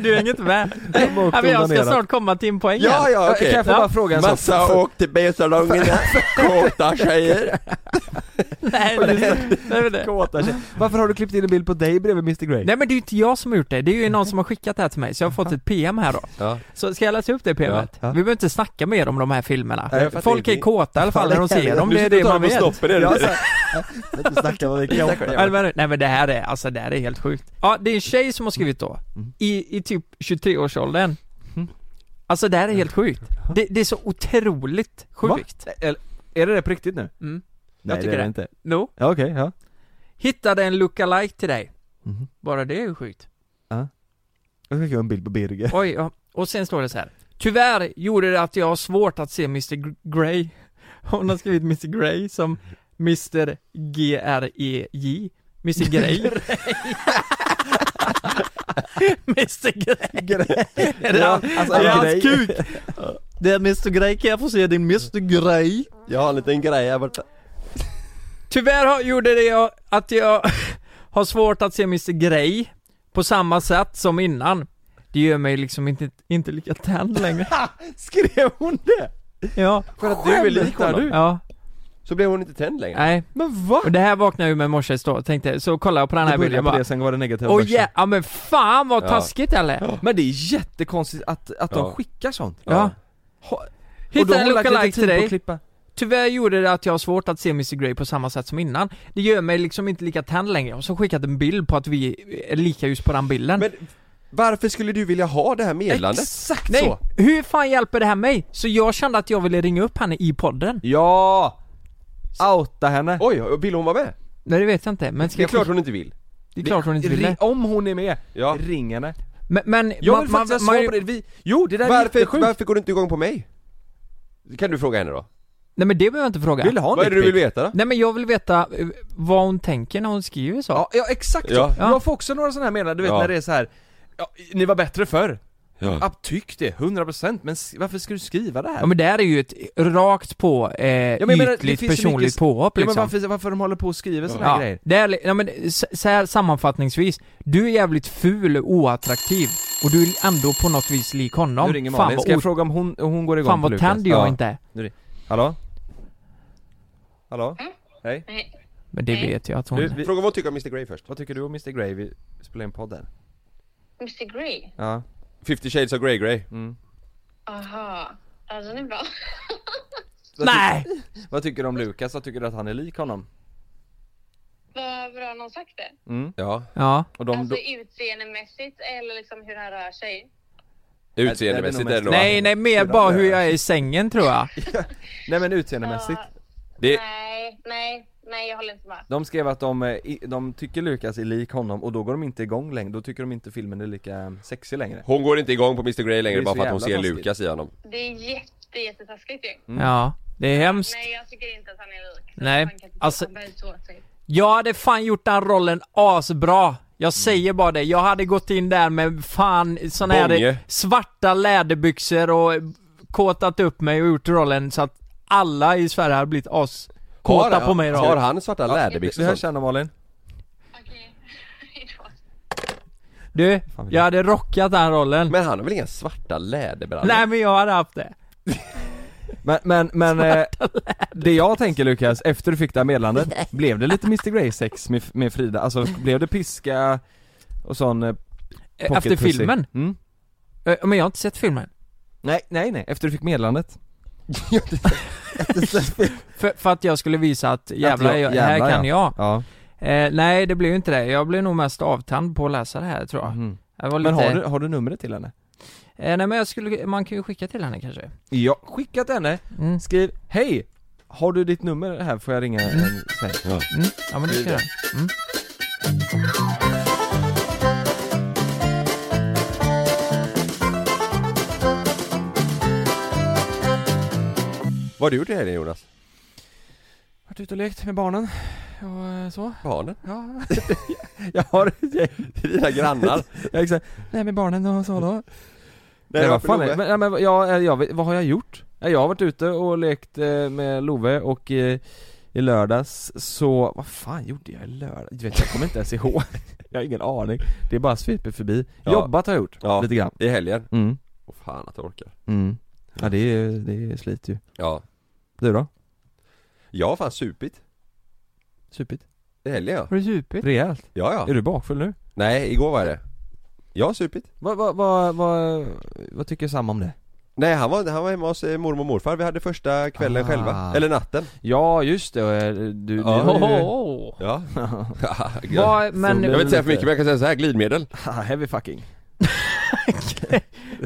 C: du är inget med. Ja, men jag ska snart komma till en poäng
A: Ja,
C: här.
A: ja, okej.
E: Kan jag få bara fråga en sak?
A: Massa åk till B-salongerna, kåta tjejer
C: Nej, nej, nej, nej, nej.
E: Kåta tjejer. Varför har du klippt in en bild på dig bredvid Mr Grey?
C: nej men det är ju inte jag som har gjort det, det är ju någon som har skickat det här till mig, så jag har fått ett PM här då.
A: Ja,
C: Så ska jag läsa upp det PMet?
E: Ja, ja.
C: Vi behöver inte snacka mer om de här filmerna.
A: Nej, jag fattar
C: Folk är
A: ingenting.
C: kåta i alla fall när de ser dem, det är det man vet.
A: det
E: Ja, så här. Jag vet inte snacka vad vi kan.
C: Ja, men- Nej men det här är, alltså det här är helt sjukt. Ja, det är en tjej som har skrivit då, i, i typ 23-årsåldern. Alltså det här är helt sjukt. Det, det är så otroligt
E: Va?
C: sjukt.
E: Eller, Är det det på riktigt nu?
C: Mm.
E: Nej,
C: tycker
E: det är
C: det.
E: inte.
C: No.
E: Ja, okej, ja.
C: Hittade en lookalike till dig.
E: Mhm.
C: Bara det är ju sjukt.
E: Jag skickar en bild på Birger.
C: Oj, ja. Och sen står det så här. Tyvärr gjorde det att jag har svårt att se Mr Gr- Grey. Hon har skrivit Mr Grey som Mr G-R-E-J. Mr Grey. Mr Grey. Är det, han,
E: alltså,
C: är det
E: ja.
C: hans
E: Grey.
C: kuk? Det är Mr Grey, kan jag få se din Mr Grey?
A: Jag har en liten grej här borta
C: Tyvärr har, gjorde det jag, att jag har svårt att se Mr Grey på samma sätt som innan. Det gör mig liksom inte, inte lika tänd längre.
E: Skrev hon det?
C: Ja.
A: För att du är lik
E: Skämtar
A: honom,
E: du?
C: Ja,
A: så blev hon inte tänd längre
C: nej.
E: Men vad?
C: Och det här vaknade jag ju med i morse då, tänkte, så kollade jag på den här
E: Det började
C: bilden
E: på
C: bara
E: det, sen var det negativa
C: Åh
E: börsen.
C: ja, ja men fan vad
A: Ja.
C: taskigt eller?
E: Men det är jättekonstigt att, att
A: Ja.
E: de skickar sånt.
C: Ja.
E: Ha- och då
C: Hittade
E: har
C: en
E: hon lagt lite tid
C: lookalike till
E: på att
C: dig,
E: klippa.
C: Tyvärr gjorde det att jag har svårt att se Mr Grey på samma sätt som innan. Det gör mig liksom inte lika tänd längre. Jag har så skickat en bild på att vi är lika just på den bilden.
A: Men varför skulle du vilja ha det här meddelandet?
E: Exakt
C: Nej,
E: så!
C: hur fan hjälper det här mig? Så jag kände att jag ville ringa upp henne i podden.
E: Ja! Outa henne!
A: Oj, vill hon vara med?
C: Nej det vet jag inte, men ska
A: Det är
C: jag
A: klart hon inte vill
C: det är klart hon inte ville.
E: Ri- Om hon är med,
A: Ja.
E: ring henne!
C: Men, men
E: Jag vill faktiskt ha svar på det, vi... Jo, det där är
A: varför,
E: jättesjukt!
A: varför går du inte igång på mig? Kan du fråga henne då?
C: Nej men det behöver jag inte fråga.
E: Vill du ha en
A: Vad är det du
E: dickpic?
A: vill veta då?
C: Nej men jag vill veta eh, vad hon tänker när hon skriver så.
E: Ja, ja exakt
A: Ja.
E: så! Jag får också några sådana här meddelanden, du vet
A: Ja.
E: när det är så här. Ja, ni var bättre förr!
A: Ja.
E: Ja, tyck det, 100% men s- varför ska du skriva det här?
C: Ja men det här är ju ett rakt på, eh,
E: men jag menar, det
C: ytligt
E: finns ju
C: personligt
E: mycket-
C: påhopp
E: Ja, men
C: liksom.
E: varför, varför de håller på och skriver såna här
C: Ja,
E: grejer?
C: det är, li- ja, men s- så här sammanfattningsvis, du är jävligt ful och oattraktiv och du är ändå på något vis lik honom.
E: Nu ringer
C: fan
E: Malin,
C: vad,
E: ska jag
C: o-
E: fråga om hon, om hon går igång
C: fan
E: på
C: vad
E: Lukas?
C: tänd jag
E: Ja.
C: inte är.
E: Hallå? Hallå?
A: Mm.
E: Hej,
C: Men det vet jag att hon
E: Du,
C: är.
E: vi-
A: Fråga vad hon tycker om Mr Grey först
E: vad tycker du om Mr Grey? Vi spelar in podden.
F: Mr Grey?
E: Ja.
A: 50 shades of Grey Grey
F: Aha. Ja, den är bra.
C: Nej!
E: Vad tycker du om Lukas? Vad tycker du att han är lik honom?
F: Vad bra någon sagt det.
A: Ja,
C: Ja,
E: Och de
F: Alltså
E: då...
F: utseendemässigt eller liksom hur han rör sig.
A: utseendemässigt
E: det är
A: är
E: nog
A: det nog
C: nej nej mer
E: det
C: bara
E: där
C: hur
E: är-
C: jag är i sängen tror jag.
E: Nej men utseendemässigt.
A: det,
F: Nej, nej, nej jag håller inte med.
E: De skrev att de, eh, i- de tycker Lukas är lik honom och då går de inte igång längre, då tycker de inte filmen är lika eh, sexig längre.
A: Hon går inte igång på Mr Grey
E: Det
A: längre
E: är
A: bara
E: så
A: för att hon
E: jävla
A: ser
E: taskigt.
A: Lukas i honom
F: Det är jätte, jättetaskigt ju.
C: Ja, det är hemskt.
F: Nej jag tycker inte att han är lik.
C: Mm. Nej,
F: Han kan inte
C: alltså-
F: han bär så åt sig.
C: Jag hade fan gjort den rollen asbra. Jag säger bara det, jag hade gått in där med fan såna här
A: Bånge.
C: svarta läderbyxor och kåtat upp mig och gjort rollen så att alla i Sverige hade blivit as kåta
A: Har-
C: på mig
A: Har
C: då.
A: han svarta läderbyxor?
E: Det här
A: och sånt?
E: känner Malin.
F: Okej, hejdå.
C: Du, jag hade rockat den rollen.
A: Men han har väl inga svarta läderbrallor?
C: Nej men jag hade haft det.
E: Men, men, men eh, det jag tänker Lukas, efter du fick det här meddelandet, blev det lite Mr Grey sex med, med Frida? Alltså blev det piska och sån eh, pocket
C: Efter
E: pussy?
C: filmen?
E: Mm.
C: Eh, Men jag har inte sett filmen.
E: Nej, nej, nej, efter du fick meddelandet.
C: För, för att jag skulle visa att jävlar,
E: jag-
C: jag, här
E: jävlar,
C: kan jag.
E: Ja.
C: Eh, nej det blev ju inte det, jag blev nog mest avtänd på att läsa det här tror jag.
E: Mhm.
C: jag var lite,
E: Men har du, har du numret till henne?
C: eh, nej men jag skulle, man kan ju skicka till henne kanske.
E: Ja, skickat henne,
C: Mm.
E: skriv hej! Har du ditt nummer här? Får jag ringa en sen?
C: Mm, ja men det ska jag göra. mm.
A: Vad har du gjort i helgen Jonas?
E: Varit ute och lekt med barnen och eh, så.
A: Barnen?
E: Ja. jag har ett gäng.
A: Dina grannar?
E: Jag är exakt, nej med barnen och så då. Nej, vad
A: varför
E: fan
A: Love?
E: är, men, nej, men jag, jag, vet- vad har jag gjort? Ja, Jag har varit ute och lekt eh, med Love och eh, i lördags så, vad fan gjorde jag i lördags? Du vet jag kommer inte ens ihåg, jag har ingen aning Det är bara sveper förbi,
A: Ja.
E: jobbat har jag gjort,
A: Ja.
E: lite grann
A: I helgen?
E: mm.
A: Åh fan att jag orkar
E: Mm. Ja det är, det är slit ju
A: Ja
E: Du då?
A: Jag har fan supit
E: Supit?
A: i helgen ja
C: Har du supit?
E: Rejält?
A: Ja ja
E: Är du bakfull nu?
A: Nej, igår var det Jag har supit
E: Vad, vad, vad, vad, vad tycker Sam om det?
A: Nej han var, han var hemma hos eh, mormor och morfar, vi hade första kvällen
E: Ah.
A: själva, eller natten
E: Ja just det, och, eh, du, ni
A: Ja.
E: har ju-
C: Ohoho.
A: Ja, jag
C: Vad, men,
A: vill inte säga för mycket men jag kan säga så här, glidmedel
E: Heavy fucking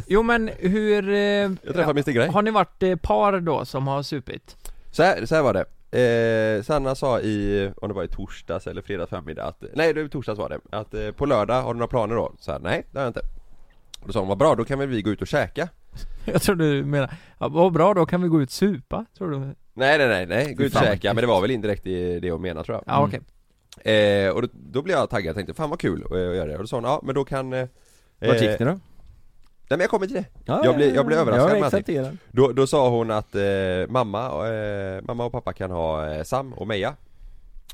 C: jo men hur, eh,
A: Jag träffade Mr Grey
C: har ni varit eh, par då som har supit?
A: så här, så här var det Eh, Sanna sa i, om det var i torsdags eller fredags förmiddag att, nej det var i torsdags var det, att eh, på lördag har du några planer då? Så här, nej det har jag inte Och Då sa hon, vad bra då kan väl vi gå ut och käka?
C: Jag tror du menar, ja, vad bra då kan vi gå ut supa, tror du?
A: Nej nej nej, nej gå ut och
E: Fan, vad
A: käka, men det var väl indirekt i det hon menade tror jag
C: Ja okej,
A: Eh, och då, då blev jag taggad och tänkte fan vad kul att eh, att göra det. Och då sa hon, ja men då kan... Eh,
E: Vart gick
A: Nej
E: ni då?
A: men jag kommer till det.
E: Ja,
A: jag blir- jag blir överraskad
E: Jag
A: med allting.
E: accepterar
A: Då, då sa hon att eh, mamma, eh, mamma och pappa kan ha eh, Sam och Meja.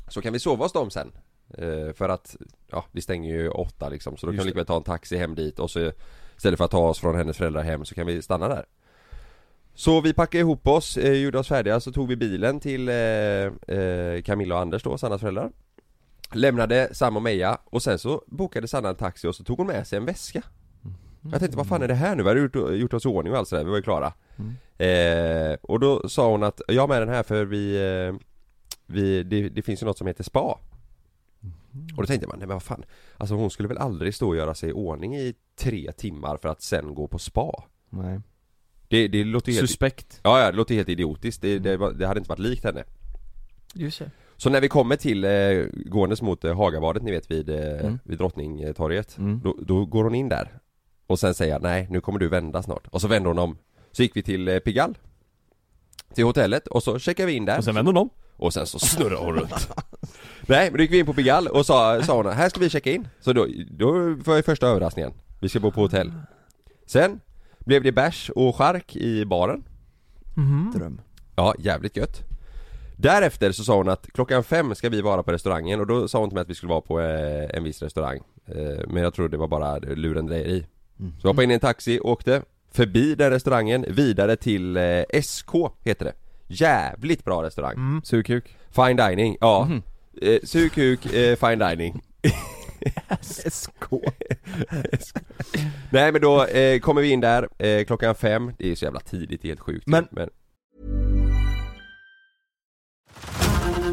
A: Så kan vi sova hos dem sen. Eh, för att, ja vi stänger ju åtta liksom. Så då
E: Just
A: kan vi
E: det.
A: lika väl ta en taxi hem dit och så istället för att ta oss från hennes föräldrar hem så kan vi stanna där. Så vi packade ihop oss, eh, gjorde oss färdiga, så tog vi bilen till eh, eh, Camilla och Anders då, Sannas föräldrar Lämnade Sam och Meja och sen så bokade Sanna en taxi och så tog hon med sig en väska Jag tänkte vad fan är det här nu? Vi hade gjort, gjort oss i ordning och allt sådär, vi var ju klara eh, Och då sa hon att, jag har med den här för vi, eh, vi det, det finns ju något som heter spa Och då tänkte man, nej men vad fan Alltså hon skulle väl aldrig stå och göra sig i ordning i tre timmar för att sen gå på spa?
E: Nej
A: Det, det låter ju helt,
E: Suspekt
A: ja, ja, det låter helt idiotiskt, det, det, var- det hade inte varit likt henne
C: Just det.
A: Så när vi kommer till, eh, gåendes mot eh, Hagabadet ni vet vid, eh,
E: Mm.
A: vid Drottningtorget
E: Mm.
A: då, då går hon in där Och sen säger jag, nej nu kommer du vända snart Och så vänder hon om Så gick vi till eh, Pigalle Till hotellet och så checkar vi in där
E: Och sen vänder hon om
A: och sen så snurrar hon runt Nej men då gick vi in på Pigalle och sa, sa hon här ska vi checka in Så då, då var ju första överraskningen Vi ska bo på hotell Sen blev det bärs och chark i baren
C: Mm-hmm.
E: Dröm
A: Ja, jävligt gött Därefter så sa hon att klockan fem ska vi vara på restaurangen och då sa hon till mig att vi skulle vara på eh, en viss restaurang eh, Men jag tror det var bara lurendrejeri
E: Mm.
A: Så jag hoppade in i en taxi, åkte förbi den restaurangen, vidare till eh, SK heter det Jävligt bra restaurang
C: Mm.
E: Sugkuk
A: Fine dining, ja. Eh, sug kuk, eh, fine dining.
E: SK
A: Nej men då eh, kommer vi in där eh, klockan fem, det är så jävla tidigt, det är helt sjukt.
E: Men-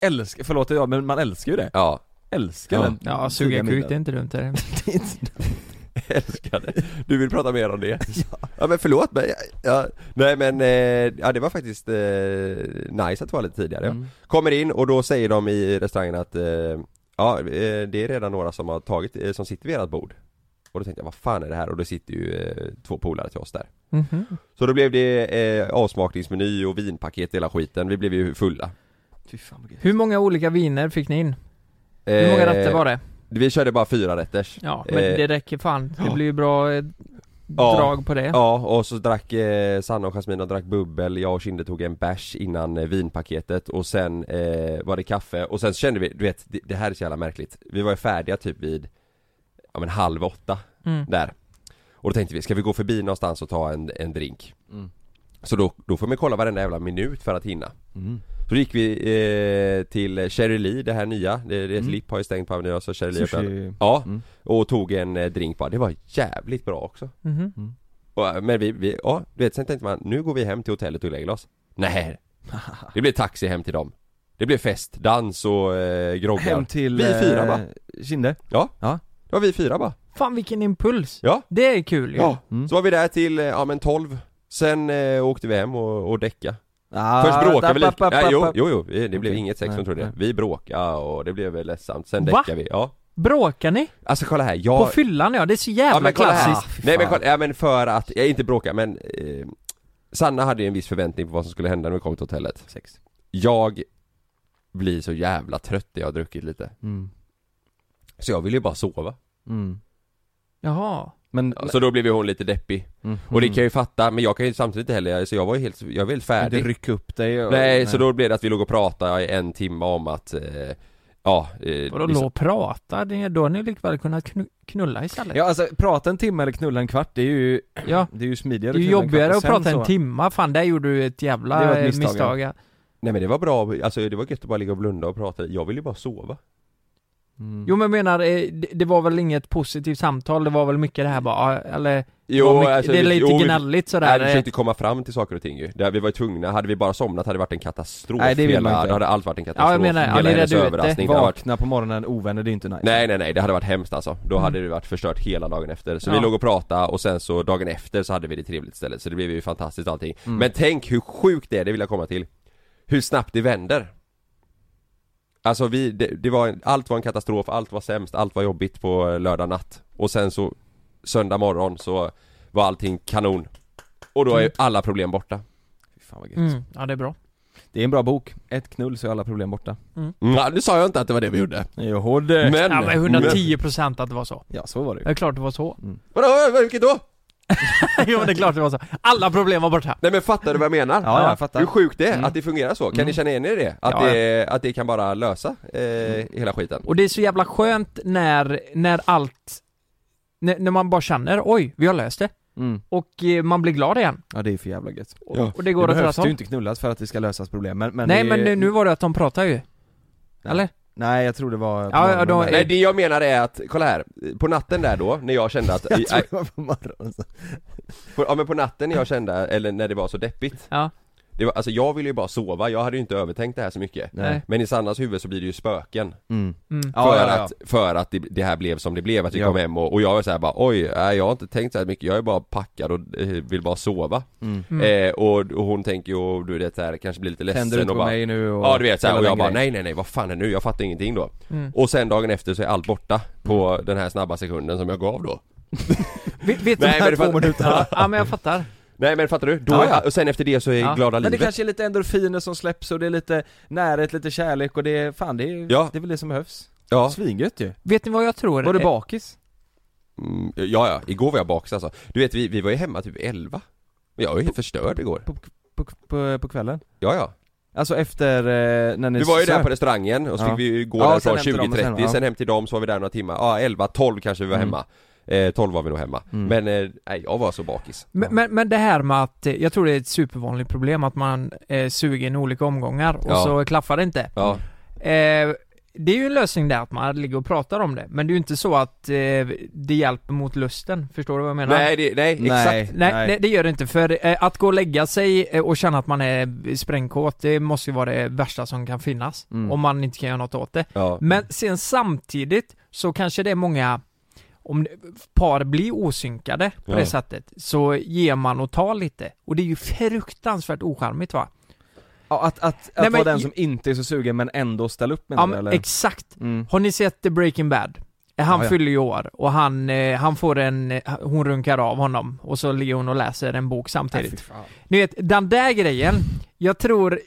E: Älskar, förlåt ja, men man älskar ju det
A: ja,
E: Älskar den
C: Ja, suga kuk, det är inte dumt är det.
A: älskade. Du vill prata mer om det? ja. men förlåt men, jag- ja, nej men, eh, ja det var faktiskt eh, nice att vara lite tidigare. ja.
C: Mm.
A: Kommer in och då säger de i restaurangen att, eh, ja eh, det är redan några som har tagit, eh, som sitter vid ert bord. Och då tänkte jag, vad fan är det här? Och då sitter ju eh, två polare till oss där.
C: Mhm.
A: Så då blev det eh, avsmakningsmeny och vinpaket hela skiten, vi blev ju fulla
E: Fy fan vad gött
C: Hur många olika viner fick ni in? Hur många rätter var det?
A: Eh, Vi körde bara fyra rätters
C: Ja, men
A: eh,
C: det räcker fan. Det blir ju bra eh,
A: Ja.
C: drag på det.
A: Ja, och så drack eh, Sanna och Jasmina drack bubbel, jag och Kinde tog en bärs innan eh, vinpaketet och sen eh, var det kaffe och sen kände vi, du vet, det, det här är så jävla märkligt Vi var ju färdiga typ vid, ja men halv åtta,
C: Mm.
A: där Och då tänkte vi, ska vi gå förbi någonstans och ta en, en drink?
E: Mm.
A: Så då, då får man kolla varenda jävla minut för att hinna
E: Mm.
A: Så gick vi eh, till Cherry Lee, det här nya, det, det Lipp har ju stängt på Avenyn så Cherry Lee öppnade.
E: Mm. Sushi
A: Ja,
E: Mm.
A: och tog en eh, drink bara, det var jävligt bra också
C: Mhm.
A: och, äh, Men vi, vi, ja du vet sen tänkte man, nu går vi hem till hotellet och lägger oss Nej, det blir taxi hem till dem Det blir fest, dans och eh, groggar
E: Hem till...
A: Vi fyra va?
E: eh, Kinde
A: Det var vi fyra bara
C: Fan vilken impuls!
A: Ja.
C: Det är kul ju.
A: Ja,
E: Mm.
A: så var vi där till, eh, ja men 12 Sen eh, åkte vi hem och, och däckade
E: ah,
A: Först bråkade vi
E: da-
A: lite,
E: ba- ba-
A: nej jo,
E: ba-
A: jo, jo, vi- det blev
E: Okej.
A: inget sex
E: Nej,
A: som trodde det
E: nej.
A: Vi bråkade och det blev väl ledsamt, sen
C: Va?
A: däckade vi, ja
C: Bråkar ni?
A: Alltså kolla här,
C: På
A: jag,
C: fyllan ja, det är så jävla
A: ja, men kolla här.
C: klassiskt.
A: Nej men kolla, ja, men för att, jag inte bråka men eh, Sanna hade ju en viss förväntning på vad som skulle hända när vi kom till hotellet
E: Sex
A: Jag blir så jävla trött när jag har druckit lite
E: mm.
A: Så jag ville ju bara sova
E: Mm.
C: Jaha.
E: Men...
A: Så då blev ju hon lite deppig
E: Mm.
A: Och det kan jag ju fatta, men jag kan ju samtidigt inte heller, så jag var ju helt, jag var helt
E: Mm. Inte
A: färdig
E: rycka upp dig och...
A: Nej, så då blev det att vi låg och pratade i en timme om att eh, Ja, eh,
C: Vadå
A: liksom-
C: låg och prata? Det- Då har ni likväl kunnat knu- knulla istället.
E: Ja alltså, prata en timme eller knulla en kvart, det är ju,
C: Ja.
E: det är ju smidigare
C: Det är ju
E: att knulla en kvart.
C: jobbigare
E: Och
C: att
E: sen
C: prata en
E: så-
C: timma, fan där gjorde du ett jävla
E: Det var ett
C: eh,
E: misstag, ja.
C: misstag. ja.
A: Nej men det var bra, alltså det var gött att bara ligga och blunda och prata, jag ville ju bara sova
E: Mm.
C: Jo men jag menar, eh, det, det var väl inget positivt samtal, det var väl mycket det här bara, ah, eller?
A: Jo,
C: det, var mycket,
A: alltså,
C: det är
A: vi-
C: lite
A: jo, vi-
C: gnälligt
A: Nej,
C: sådär. eh,
A: vi försökte komma fram till saker och ting ju. Där vi var ju tvungna, hade vi bara somnat hade det varit en katastrof
E: Nej, det vill man
A: hela,
E: inte.
A: Då hade allt varit en katastrof,
C: Ja, jag menar, ja,
A: hela
C: ni
A: hennes
C: redde ut det.
A: överraskning det hade varit,
E: Vakna på morgonen ovänner, det är ju inte nice
A: Nej nej nej, det hade varit hemskt alltså. Då
C: Mm.
A: hade det varit förstört hela dagen efter. Så vi
C: Ja.
A: låg och pratade och sen så dagen efter så hade vi det trevligt istället. Så det blev ju fantastiskt allting.
E: Mm.
A: Men tänk hur sjukt det är, det vill jag komma till. Hur snabbt det vänder. Alltså vi, det, det var, en- allt var en katastrof, allt var sämst, allt var jobbigt på eh, lördag natt. Och sen så söndag morgon så var allting kanon. Och då är ju alla problem borta.
E: Fy fan vad gött
C: Mm, eh. ja det är bra.
E: Det är en bra bok. Ett knull så är alla problem borta.
A: Mm, ja, nu sa jag inte att det var det vi gjorde.
E: Joho det.
A: Men...
C: Eh, Ja men 110 procent att det var så.
E: Ja, så var det
C: Det
E: ju.
C: är klart det var så.
A: Vadå, vadå, vilket då?
C: jo men det är klart det var så. Alla problem var borta.
A: Nej men fattar du vad jag menar?
E: Ja, jag fattar. Mm.
A: Hur sjukt det är att det fungerar så, kan ni känna igen er i det? Att,
C: Ja, ja.
A: det? att det kan bara lösa eh, hela skiten?
C: Och det är så jävla skönt när, när allt, när, när man bara känner oj, vi har löst det.
E: Mm.
C: Och eh, man blir glad igen.
E: Ja det är för jävla gött.
C: Och, och det går
E: det
C: åt rätt
E: behövs ju
C: håll.
E: inte knullas för att det ska lösas problem men, men
C: Nej
E: det är
C: men
E: ju...
C: nu, nu var det att de pratade ju. Eller?
E: Nej jag tror det var på
C: Ja, ja,
E: morgonen
C: de-
E: där.
A: Nej det jag menar är att, kolla här, på natten där då, när jag kände att,
E: Jag tror
A: nej,
E: det var på morgonen
A: på, ja men på natten när jag kände, eller när det var så deppigt
C: Ja.
A: det var, Alltså jag ville ju bara sova, jag hade ju inte övertänkt det här så mycket
C: Nej.
A: Men i Sannas huvud så blir det ju spöken
E: mm.
C: Mm.
A: För
E: ja, ja, ja.
A: att, för att det, det här blev som det blev, att vi
E: Ja.
A: kom hem och, och jag var såhär bara oj, nej, jag har inte tänkt så här mycket, jag är bara packad och eh, vill bara sova
E: Mm.
C: Mm.
A: eh, och, och hon tänker ju, "Åh, du vet såhär, kanske blir lite ledsen
E: Tänder du inte
A: och
E: på
A: bara,
E: mig nu och
A: Ja du vet såhär,
E: hela
A: och jag
E: den
A: bara
E: grejen.
A: nej nej nej vad fan är nu, jag fattar ingenting då
C: Mm.
A: Och sen dagen efter så är allt borta på
E: Mm.
A: den här snabba sekunden som jag gav då
C: Vet, vet
A: Nej, men det
C: två
A: fatt-
C: minuterna? ja men jag fattar.
A: Nej men fattar du? Då,
E: Ja, ja.
A: och sen efter det så är
C: Ja.
A: glada
E: Men det
A: livet
E: kanske är lite endorfiner som släpps och det är lite närhet, lite kärlek och det är, fan det är,
A: Ja.
E: det är väl det som behövs
A: ja.
E: Svingött ju!
C: Vet ni vad jag tror?
E: Var du
C: Eh,
E: bakis?
A: Mm, ja ja, igår var jag bakis alltså Du vet vi, vi var ju hemma typ 11 Jag var ju helt förstörd igår
E: På, på, på, på kvällen?
A: Ja ja
E: Alltså efter, eh, när ni
A: Du var ju
E: söp.
A: där på restaurangen och så
E: Ja.
A: fick vi ju gå
E: Ja,
A: därifrån
E: sen hem till dem och
A: 20.30
E: sen,
A: sen,
E: ja.
A: hem till dem så var vi där några timmar, ja 11, 12 kanske vi var
E: Mm.
A: hemma eh, 12 var vi nog hemma,
E: Mm.
A: men eh, nej jag var så bakis
C: Men, men, men det här med att, eh, jag tror det är ett supervanligt problem att man eh, suger i olika omgångar och
A: Ja.
C: så klaffar det inte.
A: Ja,
C: Eh, det är ju en lösning där att man ligger och pratar om det, men det är ju inte så att eh, det hjälper mot lusten, förstår du vad jag menar?
A: nej, det, nej
E: Nej.
A: exakt
C: Nej,
E: Nej.
C: nej. det gör det inte, för eh, att gå och lägga sig eh, och känna att man är sprängkåt, det måste ju vara det värsta som kan finnas.
E: Mm.
C: Om man inte kan göra något åt det.
A: Ja,
C: Men sen samtidigt så kanske det är många, om par blir osynkade på
A: Ja.
C: det sättet, så ger man och tar lite. Och det är ju fruktansvärt ocharmigt va?
E: Ja, att, att, att
C: Nej, men-
E: vara den som inte är så sugen men ändå ställa upp med
C: Ja,
E: det,
C: men
E: eller?
C: exakt.
E: mm.
C: Har ni sett The Breaking Bad? Eh, Han
E: Ja, ja.
C: fyller ju år och han, eh, han får en, eh, hon runkar av honom och så ligger hon och läser en bok samtidigt. Ni vet, den där grejen, jag tror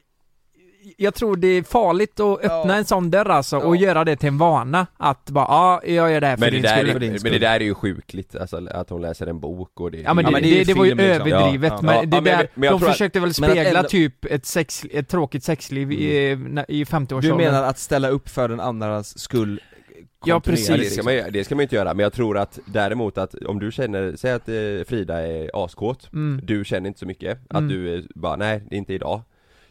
C: jag tror det är farligt att öppna en sån dörr alltså och göra det till en vana att bara ja, jag gör det här för
A: men det,
C: din
A: där
C: skull.
A: är,
E: för din
A: men det
E: skull.
A: där är ju sjukligt, alltså att hon läser en bok och det
C: Ja men det,
E: men det är
C: det,
E: ju
C: det, var ju
E: film, liksom.
C: överdrivet
E: Ja,
C: men
A: ja.
C: det
A: Ja, men-
C: där,
A: men jag
C: de
A: tror att-
C: försökte väl
E: men att
C: spegla
E: ändå-
C: typ ett, sex, ett tråkigt sexliv i, na- i 50-årsåldern.
E: Du menar att ställa upp för den andras skull eh,
C: Ja,
E: kontinuerligt,
C: precis.
A: Ja,
E: liksom?
A: det, ska man, ju- det ska man ju inte göra, men jag tror att däremot att om du känner, säg att eh, Frida är askåt,
C: Mm.
A: du känner inte så mycket, att
C: Mm.
A: du eh, bara nej, det är inte idag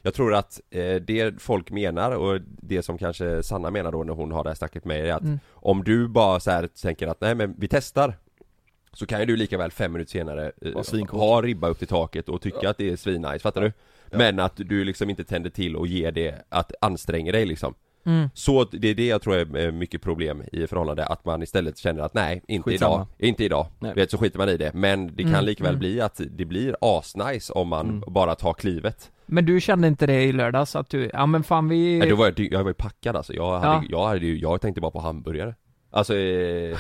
A: Jag tror att eh, det folk menar och det som kanske Sanna menar då när hon har det här snacket med er är att
C: Mm.
A: om du bara så här tänker att nej men vi testar så kan ju du lika väl fem minuter senare
E: Vara
A: eh,
E: svinkåt.
A: ha ribba upp till taket och tycka att det är svinnice, fattar du? Men att du liksom inte tänder till och ger det, att anstränger dig liksom
C: Mm.
A: så att det är det jag tror är eh, mycket problem i förhållande, att man istället känner att nej, inte
E: Skitsamma.
A: idag, inte idag,
E: Nej.
A: Du vet, så skiter man i det. Men det kan
C: Mm,
A: likväl
C: mm.
A: bli att det blir asnice om man
E: Mm.
A: bara tar klivet.
C: Men du kände inte det i lördags att du, ja men fan vi...
A: Nej, då var jag, dy- jag var ju packad alltså, jag, hade, jag, hade ju, jag tänkte bara på hamburgare. Alltså, eh,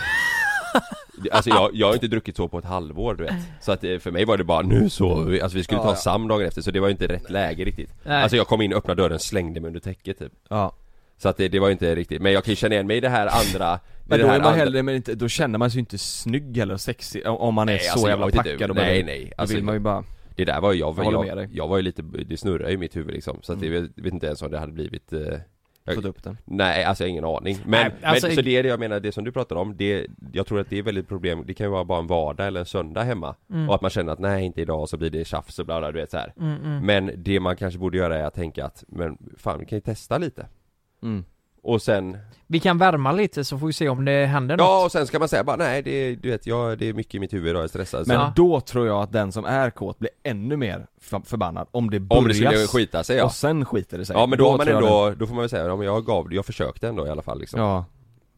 A: alltså jag, jag har inte druckit så på ett halvår du vet. Så att eh, för mig var det bara nu sover vi, alltså vi skulle
E: Ja,
A: ta
E: ja.
A: SAM dagen efter så det var ju inte rätt läge riktigt.
C: Nej.
A: Alltså jag kom in, öppnade dörren, slängde mig under täcket typ.
E: Ja.
A: Så att det, det var ju inte riktigt, men jag kan ju känna igen mig i det här andra
E: Men
A: i det
E: då
A: här
E: är man
A: andra-
E: hellre, men inte, då känner man sig ju inte snygg eller sexig om om man är
A: Nej,
E: så
A: alltså, jag
E: jävla
A: vet inte.
E: packad och
A: Nej,
E: bara-
A: nej.
E: Då
A: Alltså,
E: vill man ju bara,
A: Det där var ju, jag, var-
E: Jag håller med dig. Mm.
A: jag, jag var ju lite, det snurrade i mitt huvud liksom Så att det, jag vet inte ens om det hade blivit eh, jag-
E: fått upp den
A: Nej alltså jag har ingen aning Men,
C: Nej, alltså-
A: men så det är det jag menar, det som du pratar om det, Jag tror att det är väldigt problem, det kan ju vara bara en vardag eller en söndag hemma Och att man känner att nej inte idag så blir det tjafs och bla bla du vet så här.
C: Mm, mm.
A: Men det man kanske borde göra är att tänka att Men fan vi kan ju testa lite
E: mm.
A: Och sen,
C: Vi kan värma lite så får vi se om det händer något.
A: ja och sen ska man säga bara nej det, du vet jag, det är mycket i mitt huvud idag, jag är stressad
E: Men
A: så,
C: Ja.
E: då tror jag att den som är kåt blir ännu mer f- förbannad om det börjar
A: Om det skulle skita sig ja
E: och sen skiter det sig
A: Ja men då, har man
E: tror jag
A: ändå, då får man väl säga, ja, men jag gav, jag försökte ändå i alla fall liksom.
E: den- Ja,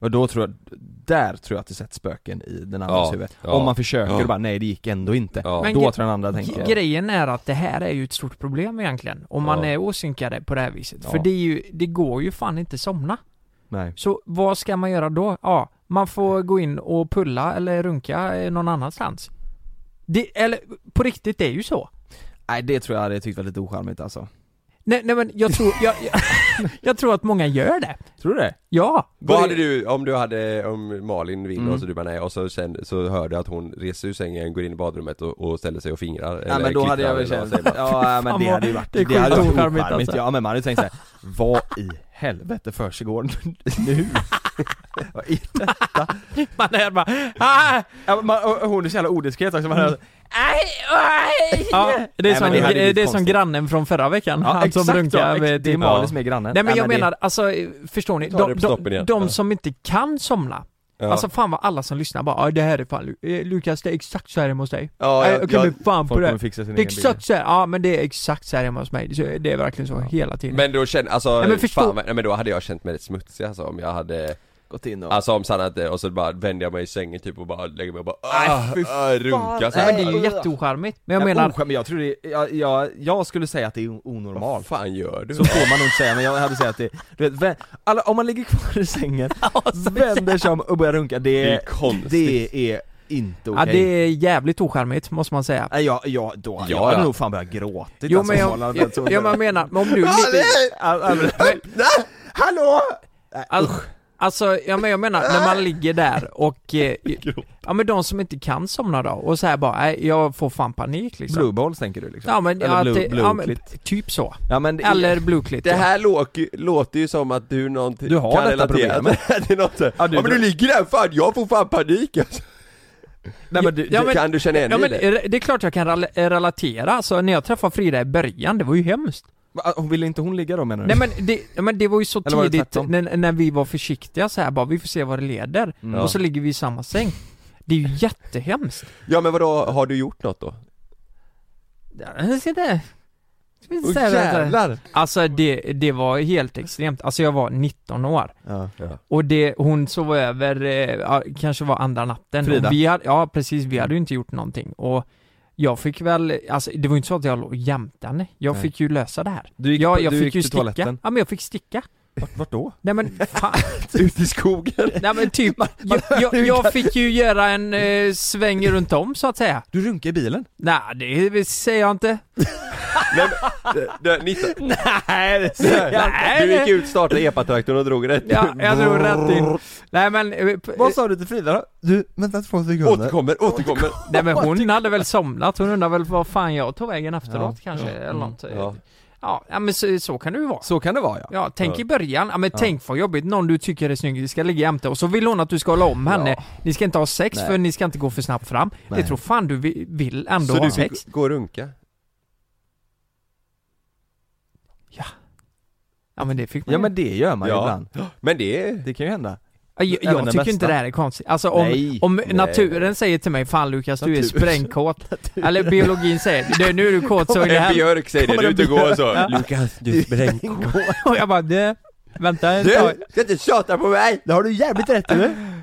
E: och då tror jag, där tror jag att det sätts spöken i den andras
A: Ja,
E: huvud
A: ja.
E: Om man försöker
A: Ja.
E: och bara, nej det gick ändå inte
A: Ja.
C: Men
E: Då
C: gre-
E: tror jag den andra tänker
C: G- Grejen är att det här är ju ett stort problem egentligen, om man
A: Ja.
C: är osynkade på det här viset. För
E: Ja.
C: det, är ju, det går ju fan inte somna.
E: Nej
C: Så vad ska man göra då? Ja, man får gå in och pulla eller runka eh, någon annanstans. Det, eller på riktigt, det är ju så.
E: Nej det tror jag hade tyckt var lite ocharmigt alltså
C: Nej, nej men jag tror, jag, jag, jag tror att många gör det.
E: Tror du det?
C: Ja.
A: Vad hade du, om du hade, om Malin vinner
E: Mm.
A: och så du bara nej och så sen så hör du att hon reser ur sängen, går in i badrummet och, och ställer sig och fingrar
E: Ja
A: eller
E: men då hade
A: klittrar
E: jag väl
A: eller vad
E: känt,
A: säger man?
E: ja men det hade ju varit,
C: det är
E: det hade varit
C: sjukt ocharmigt,
E: ocharmigt
C: alltså.
E: Ja men man hade ju tänkt såhär, vad i helvete försiggår nu? Vad är det?
C: Man är bara, ah,
E: Ja, men man, och hon är så jävlaodiskret också, man hör
C: ja, det är
E: Nej,
C: som,
E: men det hade
C: det
E: blivit
C: är som
E: konstigt.
C: grannen från förra veckan,
E: Ja,
C: han som
E: exakt
C: runkar
E: så,
C: med
E: det är
C: din
E: Malin som är grannen
C: Nej men jag
E: det-
C: menar, alltså eh, förstår ni?
A: Ta det
C: De,
A: på
C: de,
A: stoppen igen.
C: de
A: Ja.
C: som inte kan somna,
A: Ja.
C: alltså fan vad alla som lyssnar bara "Ja, det här är fan, Lu- eh, Lukas det är exakt så här hemma hos dig.
A: Ja,
C: Nej,
A: jag-
C: jag kommer
A: jag-
C: fan på
E: Folk
C: det.
E: kommer fixa sin
C: Det är
E: egen bil
C: exakt så här, ja men det är exakt så här hemma hos mig. Det det är verkligen så hela tiden.
A: Men då känner, alltså,
C: Nej, men förstå-
A: fan, vad- nej, men då hade jag känt mig rätt smutsig alltså om jag hade
E: Gått in och...
A: Alltså om Sanna inte, och så bara vänder jag mig i sängen typ och bara lägger mig och bara ah, ah, runka så
C: men det
A: här.
C: är ju
E: Nej.
C: jätteocharmigt. Men jag
E: Ja,
C: menar,
E: oskämt, men jag tror det är, jag, jag, jag skulle säga att det är o-
A: Vad
E: onormalt
A: fan gör du?
E: Så får man nog inte säga, men jag hade sagt att det, du vet, vä- alla, om man ligger kvar i sängen, vänder sig om och börjar runka, det,
A: Det är konstigt.
E: det är inte okej
C: ja, det är jävligt ocharmigt måste man säga.
E: Nej, jag, jag, då, jag
A: Ja,
E: hade
A: ja.
E: nog fan börjat gråtit
C: Jo
E: alltså,
C: men jag,
E: om alla-
C: jag, jag, jag menar, men om du... li-
E: Hallå!
C: Alltså, alltså ja, men jag menar, när man ligger där och... Eh, ja men de som inte kan somna då och säger bara, nej jag får fan panik liksom.
E: Blueballs tänker du liksom?
C: Ja men,
E: Eller
C: att
E: blue,
C: det- ja, men
E: blueklitt.
C: typ så.
E: ja, men det är-
C: Eller blueklitt.
A: Det
C: ja.
A: här låter, låter ju som att du någonting
E: Du har
A: kan
E: detta
A: relatera
E: problemet.
A: till något ja,
E: du-
A: ja men du ligger där, fan jag får fan panik alltså.
E: Nej men du,
C: Ja, men-
A: Kan du känna igen
C: Ja
A: dig
C: men
A: i det?
C: re- det är klart jag kan rela- relatera, alltså när jag träffade Frida i början, det var ju hemskt.
E: Va, hon ville inte hon ligga då menar du?
C: Nej men det, ja, men det var ju så
E: Mm. Eller var det
C: tidigt
E: tvärtom?
C: när, när vi var försiktiga så här bara, vi får se vad det leder.
E: Mm.
C: Och så ligger vi i samma säng. Det är ju jättehemskt.
A: Ja men vadå, har du gjort något då?
C: Jag ska inte- jag ska inte
A: Åh,
C: säga vad jag ska-
A: jävlar!
C: Alltså det, det var helt extremt, alltså jag var 19 år
E: Ja.
C: och det, hon sov över, eh, ja, kanske var andra natten
E: Frida.
C: Och vi hade, Ja precis, vi hade ju inte gjort någonting och jag fick väl, alltså det var ju inte så att jag låg och jämtade henne. jag
E: Nej.
C: fick ju lösa det här
E: Du gick,
C: Ja,
E: på-
C: jag
E: du
C: fick
E: gick
C: ju
E: till
C: sticka,
E: toaletten?
C: ja men jag fick sticka
E: Vart, vart då?
C: Nej men fan,
A: Ut i skogen?
C: nej men typ, jag, jag, jag fick ju göra en eh, sväng runt om så att säga
E: Du runkade i bilen?
C: Nej det säger jag inte
A: Nej, men, det, det, 19.
E: Nej det
C: Nej,
A: Du gick
C: det-
A: ut, startade epatraktorn och drog rätt
C: Ja, jag drog rätt in Nej men eh, p-
E: Vad sa du till Frida då? Du, vänta två sekunder
A: Återkommer, återkommer!
C: Nej men hon hade väl somnat, hon undrar väl vad fan jag tog vägen efteråt kanske eller något. Ja.
A: Ja.
C: ja men så, så kan det ju vara.
E: Så kan det vara ja
C: Ja, tänk i början, ja men tänk vad jobbigt, någon du tycker är snygg ska ligga jämte och så vill hon att du ska hålla om henne. Ni ska inte ha sex
E: Nej.
C: för ni ska inte gå för snabbt fram.
E: Nej.
C: Det tror fan du vi- vill ändå
A: Så
C: ha
A: du
C: sex.
A: fick gå och runka?
C: Ja men det fick man
E: Ja
C: ju.
E: men det gör man ju
A: Ja.
E: ibland
A: Men det är...
E: Det kan ju hända
C: Ja, Jag,
E: även
C: jag
E: den
C: tycker
E: bästa.
C: inte det här är konstigt. Alltså om,
E: Nej.
C: om naturen säger till mig 'Fan Lukas, du är sprängkåt' Eller biologin säger det, 'Nu är du kåt så är det
A: En
C: här'
A: björk säger det, du är ute och går så Lukas, du spränger
C: Och jag bara 'Det, vänta ett tag'
A: Du! Ska inte tjata på mig!
E: Det har du jävligt rätt eller?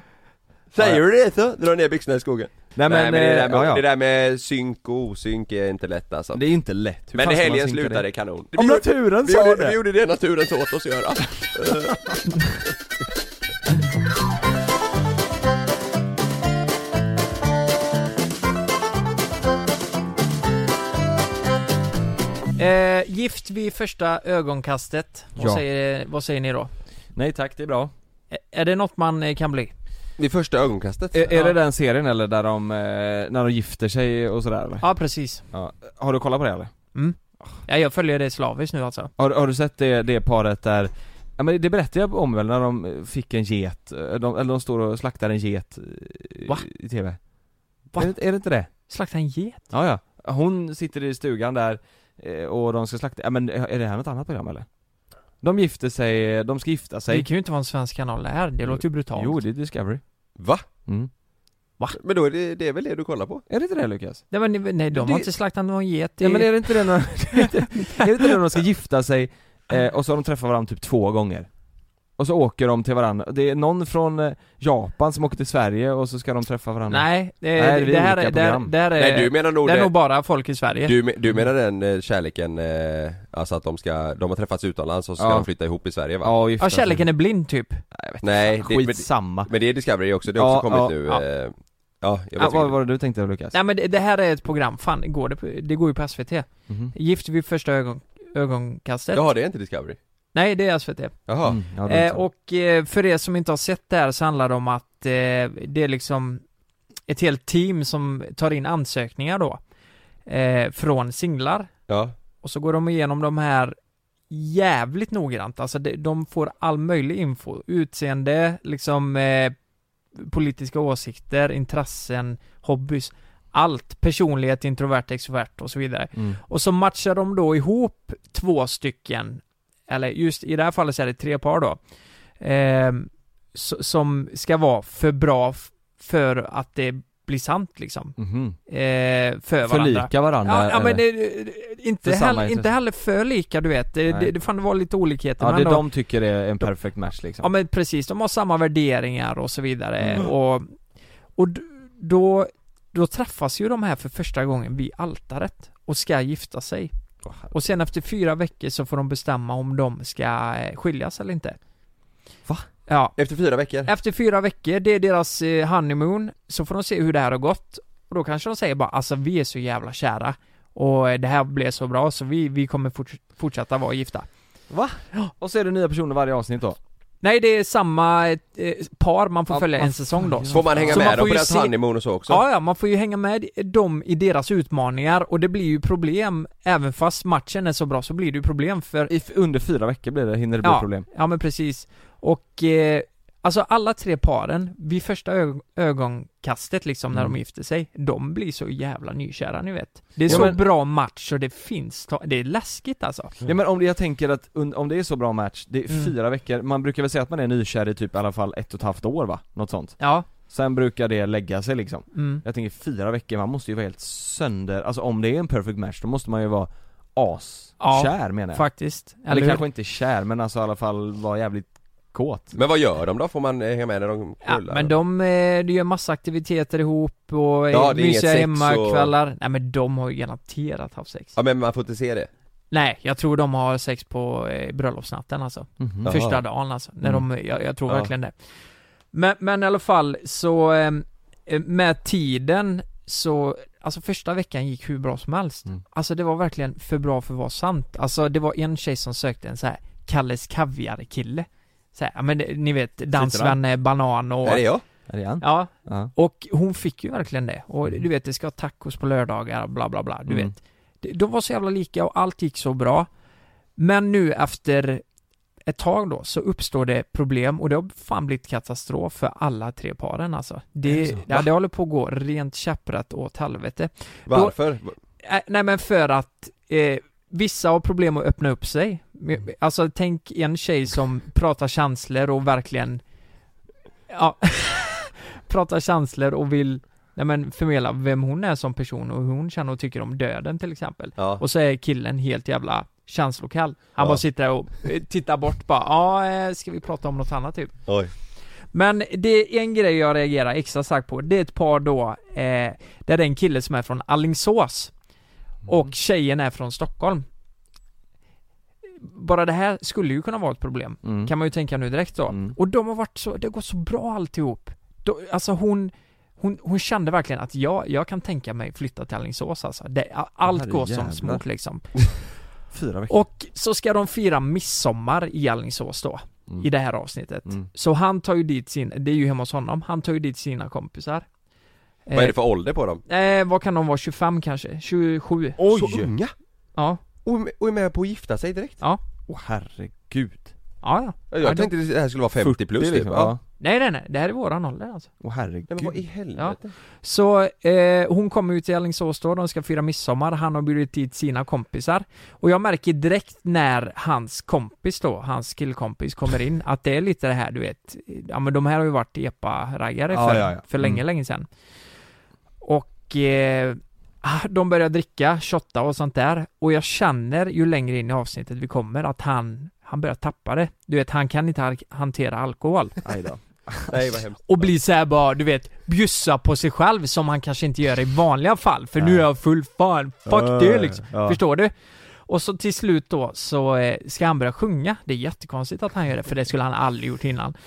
A: Säger du det så, dra ner byxorna i skogen
E: Nej
A: Nej
E: men,
A: men, eh, det, där med,
E: ja, ja.
A: det där med synk och osynk är inte lätt alltså
E: Det är ju inte lätt Hur
A: Men
E: fan ska man
A: helgen
E: synka
A: slutade
E: det?
A: kanon
E: Om
A: Vi gjorde-
E: naturen
A: vi
E: sa
A: gjorde,
E: det.
A: Vi gjorde det naturen sa åt oss att göra
C: Eh, gift vid första ögonkastet, vad,
E: Ja.
C: säger, vad säger ni då?
E: Nej tack, det är bra
C: Ä- Är det något man eh, kan bli?
A: Vid första ögonkastet
E: Är, är
C: Ja.
E: det den serien eller där de, eh, när de gifter sig och sådär eller?
C: Ja precis.
E: Ja. Har du kollat på det eller?
C: Ja, jag följer det slaviskt nu alltså.
E: Har, har du sett det, det paret där Ja men det berättade jag om väl när de eh, fick en get, eh, de, eller de står och slaktar en get eh,
C: Va?
E: i TV
C: Va?
E: Är, det, är det inte det?
C: Slakta en get?
E: Ja, ja. Hon sitter i stugan där eh, och de ska slakta, ja men eh, är det här något annat program eller? De gifter sig, de ska gifta sig
C: Det kan ju inte vara en svensk kanal det här, det låter ju brutalt.
E: Jo det är Discovery
A: Va?
E: mm.
A: Men då är det, det är väl det du kollar på?
E: Är det inte det Lukas?
C: Nej men ni- nej, de har
E: Det-
C: inte slaktat någon get i...
E: Ja men är det inte det när, är det inte det när de ska gifta sig eh, och så har de träffat varandra typ två gånger? Och så åker de till varandra, det är någon från eh, Japan som åker till Sverige och så ska de träffa varandra
C: Nej,
E: Nej,
C: det,
E: det är
C: det, här
E: olika
C: är, det, här,
E: program.
C: det här är...
A: Nej du menar nog
C: det är nog
A: det
C: bara folk i Sverige.
A: du, me- du menar den eh, kärleken, eh, alltså att de ska, de har träffats utomlands och så ska
E: Ja.
A: de flytta ihop i Sverige va?
E: Ja, och gifta
C: ja, kärleken är blind typ.
A: Nej,
E: sig.
A: det, men,
E: Skitsamma
A: men det är Discovery också, det har
E: Ja,
A: också kommit
C: ja,
A: nu eh, Ja, jag
E: ja,
A: vet
E: Vad
A: inte.
E: var det du tänkte Lukas?
C: Nej men det, det här är ett program, fan går det, på- det går ju på SVT.
E: Mhm.
C: Gift vid första ögon, ögonkastet.
A: Jaha, det är inte Discovery?
C: Nej, det är SVT.
A: Jaha,
E: Mm, ja, det är
C: Eh,
E: sant.
C: och eh, för er som inte har sett det här så handlar det om att eh, det är liksom ett helt team som tar in ansökningar då eh, från singlar
A: ja,
C: och så går de igenom de här jävligt noggrant, alltså de, de får all möjlig info, utseende, liksom eh, politiska åsikter, intressen, hobbys, allt, personlighet, introvert, extrovert och så vidare.
E: Mm.
C: Och så matchar de då ihop två stycken, eller just i det här fallet så är det tre par då, ehm, s- som ska vara för bra f- för att det blir sant liksom.
E: Mhm.
C: Eh, för varandra.
E: Förlika varandra?
C: Ja, ja men
E: eller?
C: det, det- inte,
E: För samma
C: heller, inte
E: intresse.
C: heller för lika du vet, det,
E: Nej.
C: det, det fan det var lite olikheter
E: ja,
C: men
E: det
C: ändå-
E: de tycker är en perfect match liksom?
C: Ja men precis, de har samma värderingar och så vidare
E: Mm.
C: och, och d- då, då träffas ju de här för första gången vid altaret och ska gifta sig. Och sen efter fyra veckor så får de bestämma om de ska eh, skiljas eller inte.
E: Va?
C: Ja.
A: efter fyra veckor?
C: Efter fyra veckor, det är deras eh, honeymoon, så får de se hur det här har gått. Och då kanske de säger bara alltså vi är så jävla kära och eh, det här blev så bra så vi, vi kommer forts- fortsätta vara gifta.
E: Och så är det nya personer varje avsnitt då?
C: Nej det är samma eh, par man får
E: Ja,
C: följa
E: vad
C: en säsong då.
A: Får man hänga
C: Så
A: med
C: man får
A: dem på
C: ju
A: deras
C: se-
A: honeymoon och så också?
C: Ja, ja, man får ju hänga med dem i deras utmaningar och det blir ju problem även fast matchen är så bra så blir det ju problem för
E: I, f- under fyra veckor blir det, hinner det bli
C: ja,
A: Mm.
E: problem?
C: Ja men precis. Och eh, alltså alla tre paren, vid första ög- ögonkastet liksom när
E: Mm.
C: de gifter sig, de blir så jävla nykära ni vet. Det är
E: Ja,
C: så
E: men- Mm.
C: bra match och det finns, ta- det är läskigt alltså.
E: Ja men om det, jag tänker att un- om det är så bra match, det är
C: Mm.
E: fyra veckor, man brukar väl säga att man är nykär i typ i alla fall ett och ett halvt år va? Något sånt.
C: Ja,
E: Sen brukar det lägga sig liksom.
C: mm.
E: Jag tänker fyra veckor, man måste ju vara helt sönder, alltså om det är en perfect match då måste man ju vara
C: Ja,
E: askär menar jag.
C: faktiskt.
E: Eller
C: hur?
E: kanske inte kär men alltså i alla fall vara jävligt kåt.
A: Men vad gör de då? Får man eh, hänga med när de
C: Ja,
A: kollar?
C: men de, eh, de gör massa aktiviteter ihop och
A: Ja,
C: ja,
A: det är inget
C: mysiga
A: sex
C: hemmakvällar. Nej men de har ju garanterat haft sex.
A: Ja men man får inte se det?
C: Nej, jag tror de har sex på eh, bröllopsnatten alltså.
E: Mhm.
A: Jaha. Mm.
C: Första dagen alltså. När de, jag, jag tror
A: Ja.
C: verkligen det. Men, men i alla fall så, eh, med tiden så, alltså första veckan gick hur bra som helst.
E: Mm.
C: Alltså det var verkligen för bra för att vara sant. Alltså det var en tjej som sökte en så här Kalles Kaviar-kille. Så här, ja, men det- ni vet, dansvänner, banan och...
A: Är det jag?
E: Är det han?
C: Ja,
E: Ja.
C: och hon fick ju verkligen det. Och du vet, det ska ha tacos på lördagar och bla bla bla, du
E: Mm.
C: vet. De- De var så jävla lika och allt gick så bra. Men nu efter ett tag då så uppstår det problem och det har fan blivit katastrof för alla tre paren alltså. Det, ja, det håller på att gå rent käpprätt åt helvete.
A: Varför?
C: Äh, nej men för att eh, vissa har problem att öppna upp sig. Men- Alltså tänk en tjej som pratar känslor och verkligen ja, pratar känslor och vill nej men förmedla vem hon är som person och hur hon känner och tycker om döden till exempel.
A: Ja.
C: Och så är killen helt jävla känslokall. Han
A: Ja.
C: bara sitter där och eh, tittar bort bara, ja eh, ska vi prata om något annat typ?
A: Oj.
C: Men det är en grej jag reagerar extra starkt på. Det är ett par då, eh, där det är en kille som är från Allingsås
E: Mm.
C: och tjejen är från Stockholm. Bara det här skulle ju kunna vara ett problem,
E: Mm.
C: kan man ju tänka nu direkt då.
E: Mm.
C: Och de har varit så, det har gått så bra alltihop. Då, alltså hon, hon, hon kände verkligen att jag, jag kan tänka mig flytta till Alingsås alltså. Det, allt går som
E: herrejävlar.
C: smort liksom.
E: Fyra veckor.
C: Och så ska de fira midsommar i Alingsås då,
E: Mm.
C: i det här avsnittet.
E: Mm.
C: Så han tar ju dit sin, det är ju hemma hos honom, han tar ju dit sina kompisar.
A: Vad är det för ålder på dem?
C: Eh, vad kan de vara, 25 kanske? 27?
A: Så unga?
C: Ja,
A: Och, och är med på att gifta sig direkt?
E: Åh herregud.
A: Ja,
C: ja, ja.
A: Jag
C: Ja, de-
A: tänkte det här skulle vara 50 plus typ.
E: liksom.
A: ja.
E: Ja.
C: Nej nej nej, det här är våran ålder alltså.
E: Åh herregud.
A: Nej, men vad i helvete?
C: Så eh, hon kommer ut till Alingsås då, de ska fira midsommar, han har bjudit dit sina kompisar. Och jag märker direkt när hans kompis då, hans killkompis kommer in, att det är lite det här du vet, ja men de här har ju varit epa-raggare
E: Ja,
C: för,
E: ja, ja.
C: för länge,
E: Mm.
C: länge sedan. Och eh, ah, de börjar dricka, shotta och sånt där. Och jag känner ju längre in i avsnittet vi kommer att han, han börjar tappa det. Du vet, han kan inte ha- hantera alkohol
E: Aj då.
A: Nej vad hemskt.
C: och blir såhär bara, du vet, bjussa på sig själv som han kanske inte gör i vanliga fall. För nu är jag full fan, fuck
E: Ja,
C: det liksom.
E: ja.
C: Förstår du? Och så till slut då så eh, ska han börja sjunga. Det är jättekonstigt att han gör det, för det skulle han aldrig gjort innan.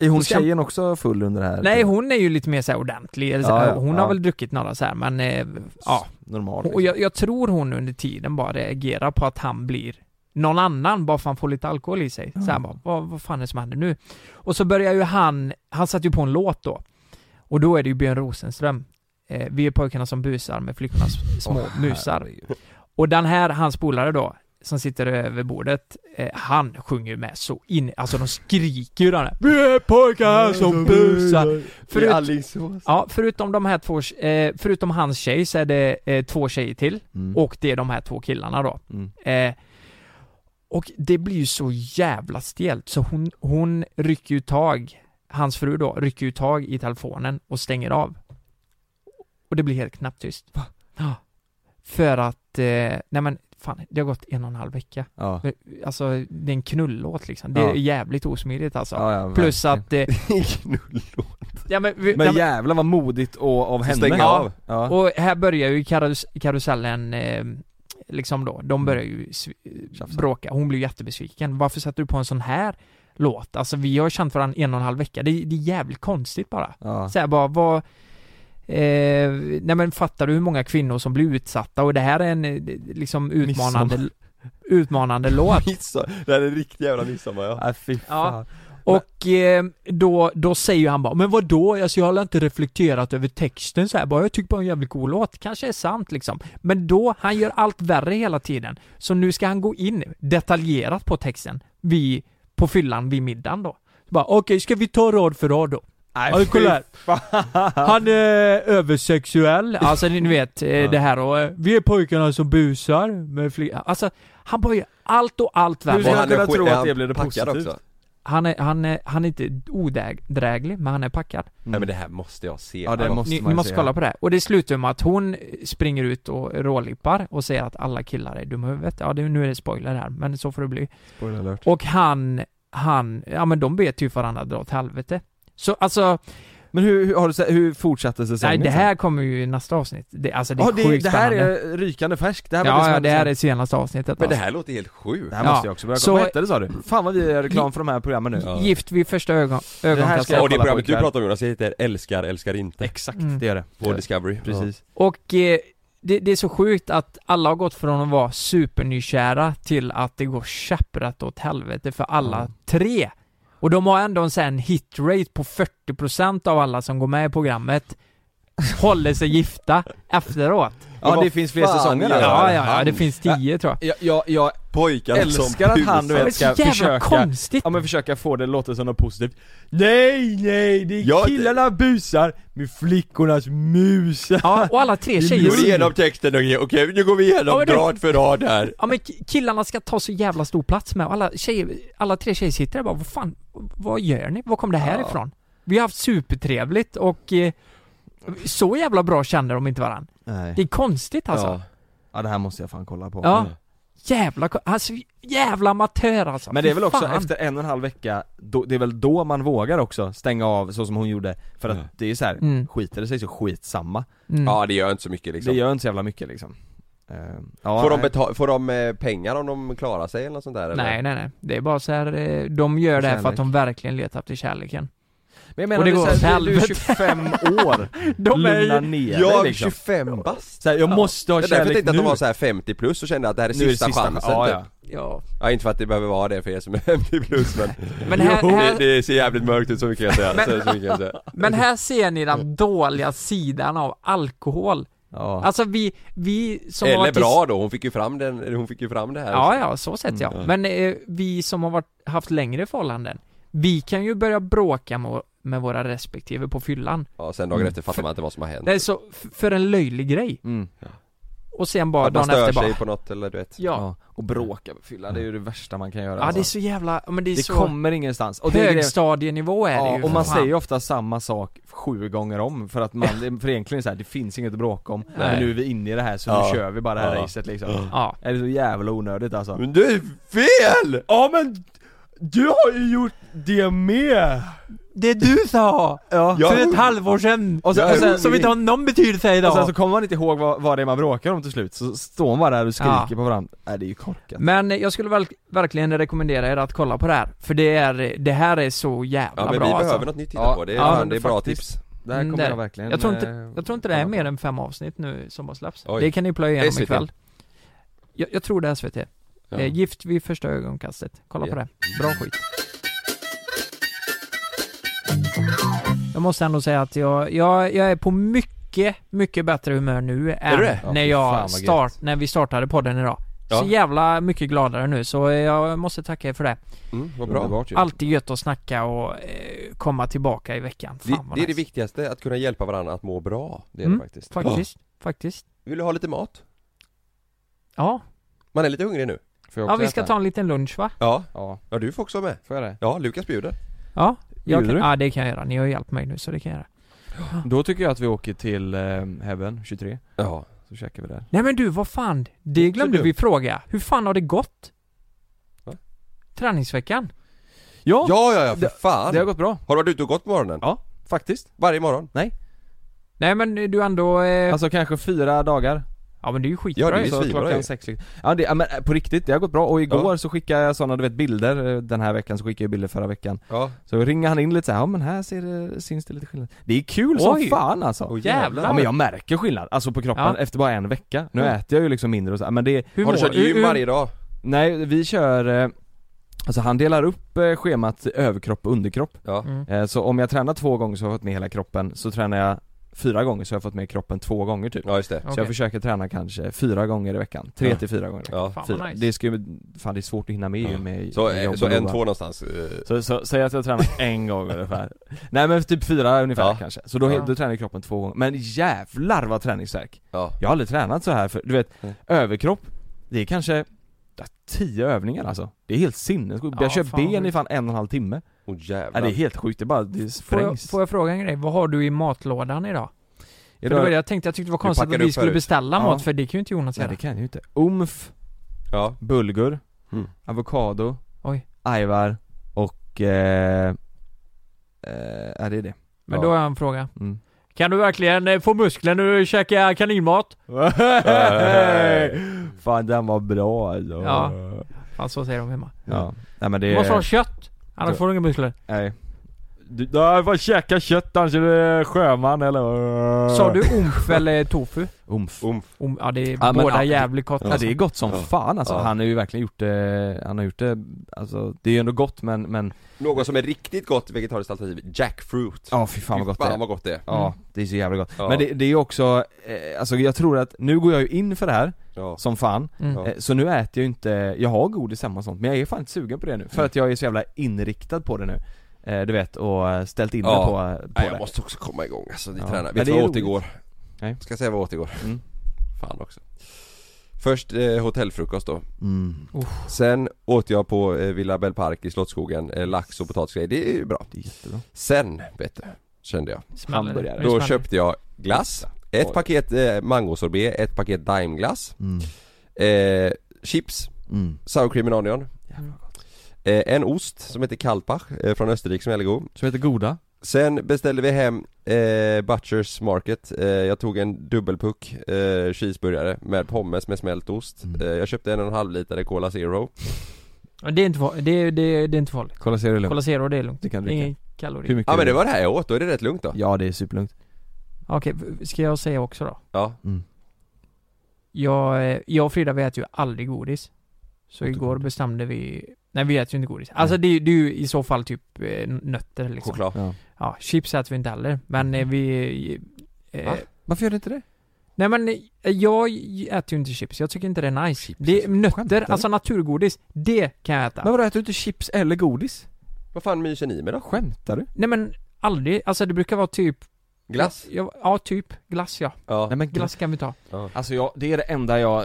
E: Är hon
C: Ska-
E: tjejen också full under det här?
C: Nej hon är ju lite mer såhär ordentlig, eller så
E: Ja, ja,
C: hon
E: ja.
C: har väl druckit några så här, men eh, ja.
E: Normal
C: Och jag, jag tror hon under tiden bara reagerar på att han blir någon annan, bara för han får lite alkohol i sig. Så här, bara, vad, vad fan är det som händer nu? Och så börjar ju han, han satte ju på en låt då. Och då är det ju Björn Rosenström. Eh, vi är pojkarna som busar med flickornas små musar. Och den här, hans polare då, som sitter över bordet, eh, han sjunger ju med så in, alltså de skriker ju den här Vi är pojkar som busar! Förut,
E: Alingsås
C: ja, förutom de här två, eh, förutom hans tjej så är det eh, två tjejer till,
E: mm.
C: och det är de här två killarna då.
E: Mm.
C: Eh, och det blir ju så jävla stelt, så hon, hon rycker ju tag, hans fru då, rycker ju tag i telefonen och stänger av. Och det blir helt knapptyst. Ja. För att, eh, nej men fan, det har gått en och en halv vecka.
E: Ja,
C: Alltså, det är en knullåt liksom. Det är
E: Ja.
C: jävligt osmidigt alltså.
E: ja, ja
C: Plus
E: verkligen.
C: att, eh, ja men, vi, ja,
E: Men
C: men
E: jävlar vad modigt och av henne
A: stänga
E: ja.
A: av.
E: Ja.
C: och här börjar ju karus karusellen eh, liksom då, de börjar ju sv-
E: Mm. Tjafsa.
C: bråka. Hon blir jättebesviken. Varför satte du på en sån här låt? Alltså vi har känt varandra en och en halv vecka. Det, det är jävligt konstigt bara.
E: ja.
C: Så här bara, vad... Eh, nej men fattar du hur många kvinnor som blir utsatta? Och det här är en eh, liksom utmanande, utmanande låt.
A: Midsommar, det här är en riktig jävla midsommar ja.
E: Nej Äh, fy fan.
C: Och eh, då, då säger ju han bara, men vadå? Alltså, jag har inte reflekterat över texten så här. bara, jag tycker bara en jävligt cool låt, kanske är sant liksom. Men då, han gör allt värre hela tiden. Så nu ska han gå in detaljerat på texten, vid, på fyllan vid middagen då. Så bara, okej, ska vi ta rad för rad då?
E: Nej,
C: Ja, kolla här.
E: fan.
C: Han är översexuell, alltså ni vet eh, det här och eh, vi är pojkarna som busar med fli- Alltså, han bara gör allt och allt
E: Hur
C: värre.
E: ska
A: Och
E: jag kunna
A: är skit-
E: tro
A: är
E: att
A: han
E: det blev det
A: packad
E: positivt?
C: Han är, han är, han är inte odräglig, men han är packad.
A: Nej men det här måste jag se.
E: Mm. Ja, det
A: Alltså,
E: måste
C: ni,
E: man
C: ni
E: ju
C: måste
E: säga.
C: kolla på det här. Och det slutar med att hon springer ut och rålippar och säger att alla killar är dumma i huvudet. Ja, det, nu är det spoiler här, men så får det bli.
E: Spoiler alert.
C: Och han, han, ja men de bet ju varandra dra åt helvete. Så alltså,
E: Men hur, hur, har du, sett- hur fortsatte
C: nej
E: säsongen?
C: det här kommer ju i nästa avsnitt. Det, alltså det är
E: Ja, det,
C: sjukt
E: det här
C: spännande.
E: är rykande färskt, det här var det
C: ja,
E: som
C: ja,
E: hände
C: det här
E: sen.
C: är senaste avsnittet
A: Men det
C: alltså.
A: här låter helt sjukt.
E: Det här
C: Ja.
E: måste jag också börja
C: Så- Mm.
E: kolla, vad hette det sa du? Fan vad vi gör reklam för de här programmen nu
A: Ja.
C: Gift vid första ögon,
E: här ska
C: ögonkastet.
E: jag-
A: Och det
E: kolla
A: programmet
E: på
A: du
E: ikväll.
A: pratar om Jonas, det heter Älskar, älskar inte.
E: Exakt,
C: Mm.
E: det gör det
A: På Discovery.
E: Precis
C: Och eh, det, det är så sjukt att alla har gått från att vara supernykära till att det går käpprätt åt helvete för alla
E: Mm.
C: tre. Och de har ändå en sån här hitrate på 40% av alla som går med i programmet håller sig gifta efteråt.
E: Ja,
A: vad
E: det finns fler
A: fan
E: säsonger
A: gör
E: där.
C: Ja, ja, ja,
A: han?
C: det finns 10 tror jag.
E: Jag, jag, jag
A: Pojkarna som
E: älskar att han du
A: busar.
E: vet
C: Det är
E: ska
C: så jävla
E: försöka
C: konstigt.
E: Ja men försöka få det att låta som något positivt Nej nej, det är
A: Ja, det-
E: killarna busar med flickornas musar
C: Ja, och alla tre tjejer...
A: Går igenom texten och okej, nu går vi
C: Ja,
A: igenom
C: men det-
A: rad för rad här.
C: Ja men k- killarna ska ta så jävla stor plats med och alla tjejer, alla tre tjejer sitter där bara vad fan, vad gör ni? Var kom det här ifrån? Vi har haft supertrevligt och eh, så jävla bra känner de inte varandra. Det
E: Nej
C: är konstigt alltså.
A: Ja.
E: Ja det här måste jag fan kolla på
C: Ja. Jävla, ko- alltså jävla amatör alltså.
E: Men det är
C: Fy
E: väl också
C: fan.
E: efter en och en halv vecka, då, det är väl då man vågar också stänga av så som hon gjorde För att
A: Mm.
E: det är ju så här,
C: Mm.
E: skiter det sig så skitsamma
C: Mm.
A: ja, det gör inte så mycket liksom.
E: Det gör inte så jävla mycket liksom Eh, ja,
A: Får de,
E: nej.
A: betala, får de eh, pengar om de klarar sig eller något sånt där eller?
C: Nej nej nej, det är bara så här, eh, de gör det här för
E: Kärlek.
C: att de verkligen letar efter kärleken.
E: Men jag menar,
C: Och
E: det
C: det går
E: är
C: åt
E: så här, du, du är
C: helvete.
E: 25 år,
C: De
E: lugna
C: är,
E: ner
A: Jag
E: dig
A: är
E: liksom
A: 25 bast!
E: så här, jag måste ha
A: Det är därför jag
E: kärlek
A: tänkte
E: nu
A: att de var så här 50 plus och kände att det här är
E: Nu är det
A: sista, chansen
E: Ja,
A: typ.
E: ja.
C: ja.
A: Ja inte för att det behöver vara det för er som är 50 plus men,
C: Men här,
A: Jo,
C: här,
A: Det, det ser jävligt mörkt ut så mycket kan jag säga, så, så mycket kan jag säga.
C: men här ser ni den dåliga sidan av alkohol.
E: Ja.
C: Alltså vi, vi som har
A: Eller
C: varit i-
A: bra då, hon fick ju fram den, hon fick ju fram det här
C: Ja, ja,
E: Alltså.
C: så sett ja.
A: Mm.
C: Men eh, vi som har varit, haft längre förhållanden, vi kan ju börja bråka med, med våra respektive på fyllan.
A: Ja, sen dagen efter fattar man inte vad som har hänt
C: Mm. Det är så, f- för en löjlig grej.
E: Mm.
C: Och sen bara
A: Att man
C: dagen
A: stör
C: efter
A: sig
C: bara...
A: på något eller du vet
C: Ja.
E: Ja. Och bråka med fylla, det är ju det värsta man kan göra alltså.
C: Ja, det är så jävla, ja, men det är
E: det
C: så...
E: kommer ingenstans och det är det,
C: högstadienivå är det
E: ja,
C: ju.
E: och
C: för
E: man
C: fan.
E: säger ju ofta samma sak sju gånger om för att man, det- för egentligen så här, det finns inget att bråka om Men
C: Nej.
E: nu är vi inne i det här så
A: Ja.
E: nu kör vi bara det här
A: Ja.
E: racet liksom
C: Ja.
E: Mm. Är det så jävla onödigt alltså?
A: Men det är fel!
E: Ja men! Du har ju gjort det med!
C: Det du sa!
E: Ja.
C: För ett halvår sedan!
E: Och sen- och sen-
C: som inte har någon betydelse
E: Och
C: idag!
E: sen så kommer man inte ihåg vad, vad det är man bråkar om till slut, så står man bara där och skriker
C: Ja.
E: på varandra. Nej det är ju korkat.
C: Men jag skulle verk- verkligen rekommendera er att kolla på det här, för det är, det här är så jävla
A: Ja men vi
C: bra
A: behöver
C: alltså.
A: något nytt att titta
E: Ja,
A: på, det är,
C: ja,
A: fan,
E: men
A: det är bra
E: faktiskt.
A: tips
E: Det här
C: Mm,
E: kommer
C: det-
E: jag verkligen
C: jag tror inte-
E: eh,
C: Jag tror inte det är
E: kolla på.
C: mer än fem avsnitt nu som har släppts.
A: Oj.
C: Det kan ni plöja igenom
A: SVT.
C: ikväll. Jag, jag tror det är SVT.
A: ja.
C: Eh, Gift vid första ögonkastet. Kolla
A: Ja.
C: på det. Bra skit. Jag måste ändå säga att jag, jag, jag är på mycket, mycket bättre humör nu än
A: du det?
E: Ja,
C: när,
E: fy fan
C: jag
E: vad
C: start,
E: gött.
C: när vi startade podden idag.
A: Ja.
C: Så jävla mycket gladare nu, så jag måste tacka er för det.
A: Mm, vad bra
E: Underbart ju.
C: Alltid gött att snacka och eh, komma tillbaka i veckan. Fan
A: det,
C: vad
A: det är det
C: nice.
A: viktigaste, att kunna hjälpa varandra att må bra
E: Det är det
C: Mm.
E: faktiskt.
C: Faktiskt, faktiskt.
A: Vill du ha lite mat?
C: Ja.
A: Man är lite hungrig nu
E: Får jag
C: ja,
E: också
C: vi ska
E: äta?
C: ta en liten lunch va?
A: Ja,
E: Ja,
A: ja du får också vara med
E: får jag det?
A: Ja, Lukas bjuder
C: Ja. Jag
E: Bjuder
C: kan,
E: du?
C: ja, det kan jag göra. Ni har ju hjälpt mig nu så det kan jag göra.
E: Då tycker jag att vi åker till eh, Heaven 23,
A: Ja
E: så käkar vi där.
C: Nej men du, vad fan? Det glömde
A: dumt.
C: vi fråga. Hur fan har det gått?
A: Va?
C: Träningsveckan?
E: Ja!
A: Ja, ja, ja för fan!
E: Det har gått bra,
A: Har du varit ute och gått på morgonen?
E: Ja. faktiskt.
A: Varje morgon?
C: Nej men du ändå... Eh...
E: Alltså kanske fyra dagar.
C: ja men det är ju skitbra
A: Ja, det är
C: ju.
A: ju
E: Så
A: svinbra ju.
E: klockan sex liksom. Ja, det, ja men eh, på riktigt, det har gått bra och igår så skickade jag sådana du vet bilder eh, den här veckan, så skickade jag bilder förra veckan
A: Ja
E: Så ringer han in lite såhär, ja men här ser det, syns det lite skillnad Det är kul
C: Oj.
E: som fan alltså!
A: Åh,
C: jävlar.
E: Ja men jag märker skillnad, alltså på kroppen
C: Ja.
E: efter bara en vecka Nu
A: Ja.
E: äter jag ju liksom mindre och så här, men det,
C: Hur
A: Har du
C: mår
A: kört gym
C: Hur-
A: varje dag?
E: nej vi kör eh, Alltså han delar upp eh, schemat till överkropp och underkropp
A: Ja
C: Mm.
E: Eh, Så om jag tränar två gånger så har jag fått med hela kroppen, så tränar jag fyra gånger så har jag fått med kroppen två gånger typ
A: Ja just det
E: Så
C: Okej.
E: jag försöker träna kanske fyra gånger i veckan, tre
A: Ja.
E: till fyra gånger i veckan
A: Ja
C: Fan vad
E: Fyra.
C: nice.
E: Det ska ju, fan det är svårt att hinna med ju
A: Ja.
E: med
A: Så,
E: med
A: eh,
E: jobb
A: så
E: och
A: en,
E: lova.
A: två någonstans eh,
E: Så, så säg att jag tränar en gång ungefär Nej men typ fyra ungefär
A: Ja.
E: kanske, så då,
C: Ja.
E: då tränar kroppen två gånger Men jävlar vad träningsvärk!
A: Ja
E: Jag har aldrig tränat så här för, du vet,
A: Nej.
E: överkropp Det är kanske ja, tio övningar alltså Det är helt sinnessjukt,
C: Ja,
E: jag kör
C: fan.
E: ben i fan en och en halv timme
A: Åh
E: ja,
A: jävlar
E: Det är helt sjukt, det är bara, det
C: Får jag,
E: sprängs
C: får jag fråga en grej? Vad har du i matlådan idag? För det
E: Idag-
C: var det jag tänkte, jag tyckte det var konstigt
A: packade
C: att vi
A: upp
C: skulle
A: förut.
C: beställa
E: Ja.
C: mat för det kan ju inte Jonas
E: Nej
C: göra.
E: det kan jag ju inte, umf,
A: Ja
E: bulgur,
A: Mm.
E: avokado,
C: Oj.
E: ajvar och eh, eh, ja det är det
C: Men
A: Ja.
C: då har jag en fråga.
E: mm.
C: Kan du verkligen eh, få muskler när du käkar kaninmat?
E: Fan den var bra alltså.
C: Ja. Ja, så Alltså, säger de hemma.
E: ja. Nej men det
C: Du måste ha kött, annars
E: Ja.
C: får du inga muskler.
E: Nej. Du, du får käka kött annars är du sjöman eller?
C: Sa du omf eller tofu?
E: Umf.
A: Umf
C: Om, ja det är
E: Ja, men,
C: båda
E: ja, det-
C: jävligt gott
E: Ja det är gott som
A: Ja.
E: fan alltså.
A: Ja.
E: Han har ju verkligen gjort det, han har gjort det, alltså det är ju ändå gott men, men
A: Något som är riktigt gott vegetariskt alternativ, jackfruit
E: Ja fy fan vad gott
A: Fy
E: det är.
A: fan vad gott det är
E: Ja, det är så jävla gott.
A: Mm. Ja.
E: Men det, det är ju också, eh, alltså jag tror att, nu går jag ju in för det här
A: Ja,
E: som fan,
C: Mm.
A: Ja.
E: eh, så nu äter jag ju inte, jag har godis hemma och sånt, men jag är fan inte sugen på det
A: Mm.
E: nu, för att jag är så jävla inriktad på det nu eh, Du vet, och eh, ställt in mig
A: Ja.
E: på, på
A: Nej,
E: det
A: jag måste också komma igång alltså, vi
E: Ja.
A: tränar, vet
E: Men det
A: du vad
E: är
A: jag åt
E: roligt.
A: igår?
E: Nej.
A: Ska jag säga vad jag åt igår?
E: Mm.
A: Fan också Först eh, hotellfrukost då
E: mm.
A: Sen åt jag på eh, Villa Bell Park i Slottsskogen, eh, lax och potatisgrejer, det är ju bra
E: Det är jättebra
A: Sen, vet du, kände jag
C: Smäller.
E: hamburgare.
C: Nu
A: Då
C: smäller.
A: köpte jag glass, ett
E: Oj.
A: paket eh, mangosorbet, ett paket daimglass,
E: mm.
A: eh, chips,
E: Mm.
A: sour cream and onion
E: Jävla gott.
A: eh, En ost som heter Kalpach eh, från Österrike som är jävligt god
E: Som heter Goda
A: Sen beställde vi hem eh, Butchers Market, eh, jag tog en dubbelpuck eh, cheeseburgare med pommes med smält ost
E: Mm.
A: eh, Jag köpte en och en halv liter Cola Zero
C: Ja, Det är inte, fa- det är, det är, det är inte farligt.
E: Kolla ser du lugnt?
C: Cola Zero, det är lugnt.
E: Du kan dricka
C: Ingen
E: Hur
C: kalori.
E: mycket
A: Ja men
E: är
A: det var det här jag åt, då är det rätt lugnt då
E: Ja det är superlugnt
C: Okej, v- ska jag säga också då?
A: Ja,
E: mm.
C: Jag, eh, jag och Frida vi äter ju aldrig godis. Så
E: Åt du
C: igår
E: godis?
C: bestämde vi... Nej vi äter ju inte godis. Alltså
E: Mm.
C: det, är- det är ju i så fall typ eh, nötter liksom.
A: choklad
E: ja.
C: Ja, chips äter vi inte heller. Men
E: Mm.
C: eh, vi... Eh,
A: Va?
E: Varför gör du inte det?
C: nej men eh, jag äter ju inte chips. Jag tycker inte det är nice. det,
E: Skämtar
C: nötter,
E: du?
C: alltså naturgodis, det kan jag äta.
E: Men vadå, äter du inte chips eller godis?
A: Vad fan myser ni med då?
E: Skämtar du?
C: Nej men aldrig, alltså det brukar vara typ
A: Glass?
C: Ja, ja typ, glass ja.
A: Ja,
E: Nej men
C: Glass kan vi ta.
E: Alltså jag, det är det enda jag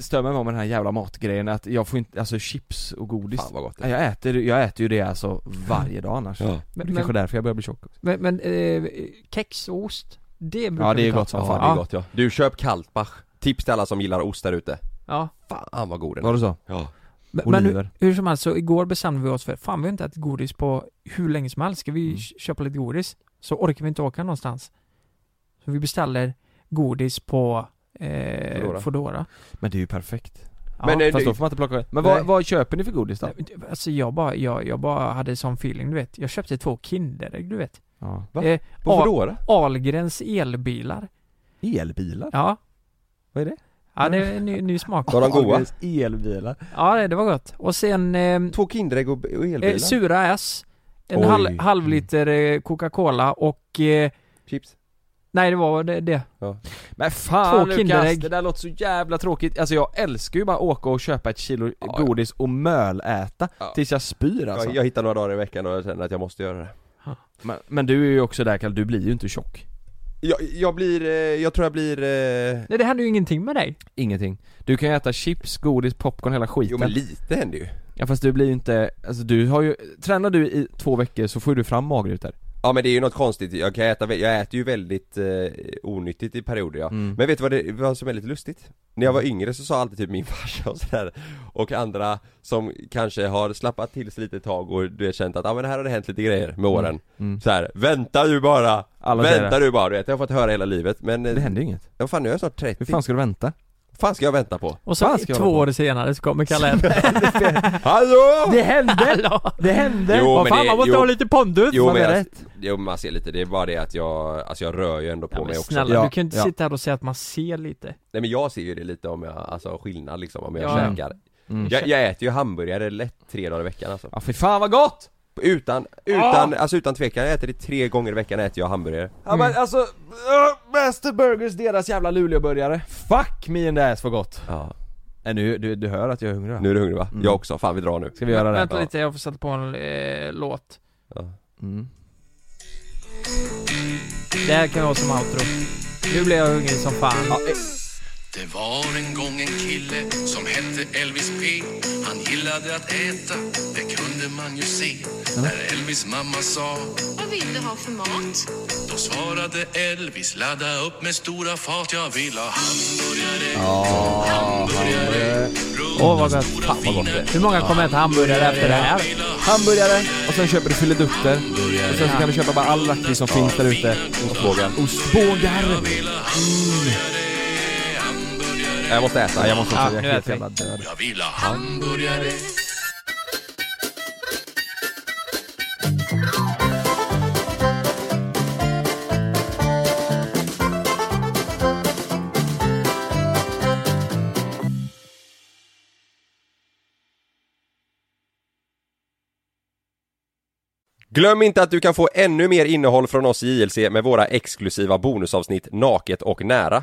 E: stör mig på med den här jävla matgrejen, att jag får inte, alltså chips och godis
A: fan vad gott det är.
E: Nej, jag, äter, jag äter ju det alltså varje dag annars
A: Ja.
E: Det är
C: Men,
E: kanske
C: men,
E: därför jag börjar bli tjock också.
C: men, men eh, kex och ost, det brukar
E: Ja det
C: vi
E: är
C: ta.
E: gott som
A: Ja,
E: fan
A: det är gott ja. Du köp Kaltbach. Tips till alla som gillar ost där ute.
C: Ja.
A: Fan vad god den är.
E: Var det så?
A: Ja.
C: Men, men hur,
E: Oliver.
C: hur som helst, så igår bestämde vi oss för fan vi har inte ätit godis på hur länge som helst, ska vi k- köpa lite godis? Så orkar vi inte åka någonstans. Så vi beställer godis på eh,
E: Foodora.
C: Foodora.
E: Men det är ju perfekt
C: Ja.
A: Men, eh,
E: Fast
A: du-
E: då får man inte plocka Men
C: Nej.
E: vad, vad köper ni för godis då?
C: Nej, men, Alltså jag bara, jag, jag bara hade sån feeling du vet. Jag köpte två Kinderägg du vet.
E: Ja.
A: Va?
C: Eh,
A: På
C: Ja.
A: Foodora?
C: Ahlgrens elbilar.
E: Elbilar?
C: Ja.
E: Vad är det?
C: Ja det är en ny, ny smak.
A: Var de goa?
E: Ahlgrens Elbilar?
C: Ja det- det var gott. Och sen eh,
A: Två Kinderägg och och elbilar?
C: eh, sura S. En
A: Oj.
E: Mm.
C: halv, halv liter eh, Coca-Cola och eh,
A: Chips?
C: Nej det var det, det.
E: Men fan
C: Två
E: Lukas,
C: Kinderägg.
E: det där låter så jävla tråkigt Alltså jag älskar ju bara att åka och köpa ett kilo
A: Ja, ja.
E: godis och möläta
A: Ja.
E: tills jag spyr alltså
A: Jag, jag hittar några dagar i veckan och jag känner att jag måste göra det
E: Men, men du är ju också där Kalle, du blir ju inte tjock
A: Jag, jag blir, eh, jag tror jag blir eh,
C: Nej det hände ju ingenting med dig.
E: Ingenting Du kan ju äta chips, godis, popcorn, hela skiten
A: Jo men lite händer ju
E: Ja fast du blir ju inte, alltså du har ju, tränar du i två veckor så får du fram magrutor
A: Ja men det är ju något konstigt, jag kan äta, vä- jag äter ju väldigt eh, onyttigt i perioder ja.
E: Mm.
A: Men vet du vad, det, vad som är lite lustigt? När jag var yngre så sa alltid typ min farsa och sådär Och andra som kanske har slappat till sig lite ett tag och du har känt att ah, men här har det hänt lite grejer med åren
E: Mm.
A: så här, vänta du bara!
E: Alla säger
A: vänta du bara, du vet, jag har fått höra hela livet men eh,
E: Det händer ju inget,
A: ja, fan nu är jag snart
E: hur
A: 30,
E: fan ska du vänta?
A: vad fan ska jag vänta på?
C: Och så
E: Fan, ska jag
C: två
E: vara på.
C: år senare så kommer Kalle hem.
A: Hallå!
E: Det hände!
C: Hallå!
E: Det hände!
A: Jo,
C: Vad
A: men
C: fan
A: det-
C: man måste
A: jo.
C: ha lite pondus!
A: Jo
E: man
A: men
E: är
A: jag,
E: rätt.
A: jo, men man ser lite, det är bara det att jag, alltså jag rör ju ändå på
C: Ja,
A: mig
C: men
A: också
C: snälla,
E: Ja,
C: du kan ju inte
E: ja.
C: sitta här och säga att man ser lite.
A: Nej men jag ser ju det lite om jag, alltså skillnad liksom om jag
C: Ja, ja.
A: käkar
E: Mm.
A: jag, jag äter ju hamburgare lätt tre dagar i veckan alltså
E: Ja fy fan vad gott!
A: Utan,
E: Ah!
A: utan, alltså utan tvekan, jag äter det tre gånger i veckan äter jag hamburgare
E: Ja men alltså, uh, Master Burgers, deras jävla Luleåburgare Fuck me in the ass vad gott!
A: Ja
E: Nej Äh, nu, du, du hör att jag är hungrig va?
A: Nu är du hungrig va?
E: Mm.
A: Jag också, fan vi drar nu
E: Ska vi göra det?
C: Vänta
E: Ja.
C: lite, jag får sätta på en eh, låt.
A: ja.
E: Mm.
C: Det här kan jag ha som outro. Nu blir jag hungrig som fan.
E: Ja, eh,
D: Det var en gång en kille som hette Elvis P Han gillade att äta, det kunde man ju se När Elvis mamma sa
F: Vad vill du ha för mat?
D: Då svarade Elvis ladda upp med stora fat Jag vill ha hamburgare, hamburgare
C: Åh vad gott. Fan vad gott det Hur många kommer äta hamburgare efter det här?
E: hamburgare, och sen köper du filidukter Och sen så kan du köpa bara all lakrits som finns där ute Ostbågar Ostbågar!
A: Jag måste äta, jag måste
C: Ja,
E: Jag
C: nu
E: är helt
C: äter vi.
E: jävla död
D: Jag vill ha hamburgare
A: Glöm inte att du kan få ännu mer innehåll från oss i JLC med våra exklusiva bonusavsnitt Naket och nära.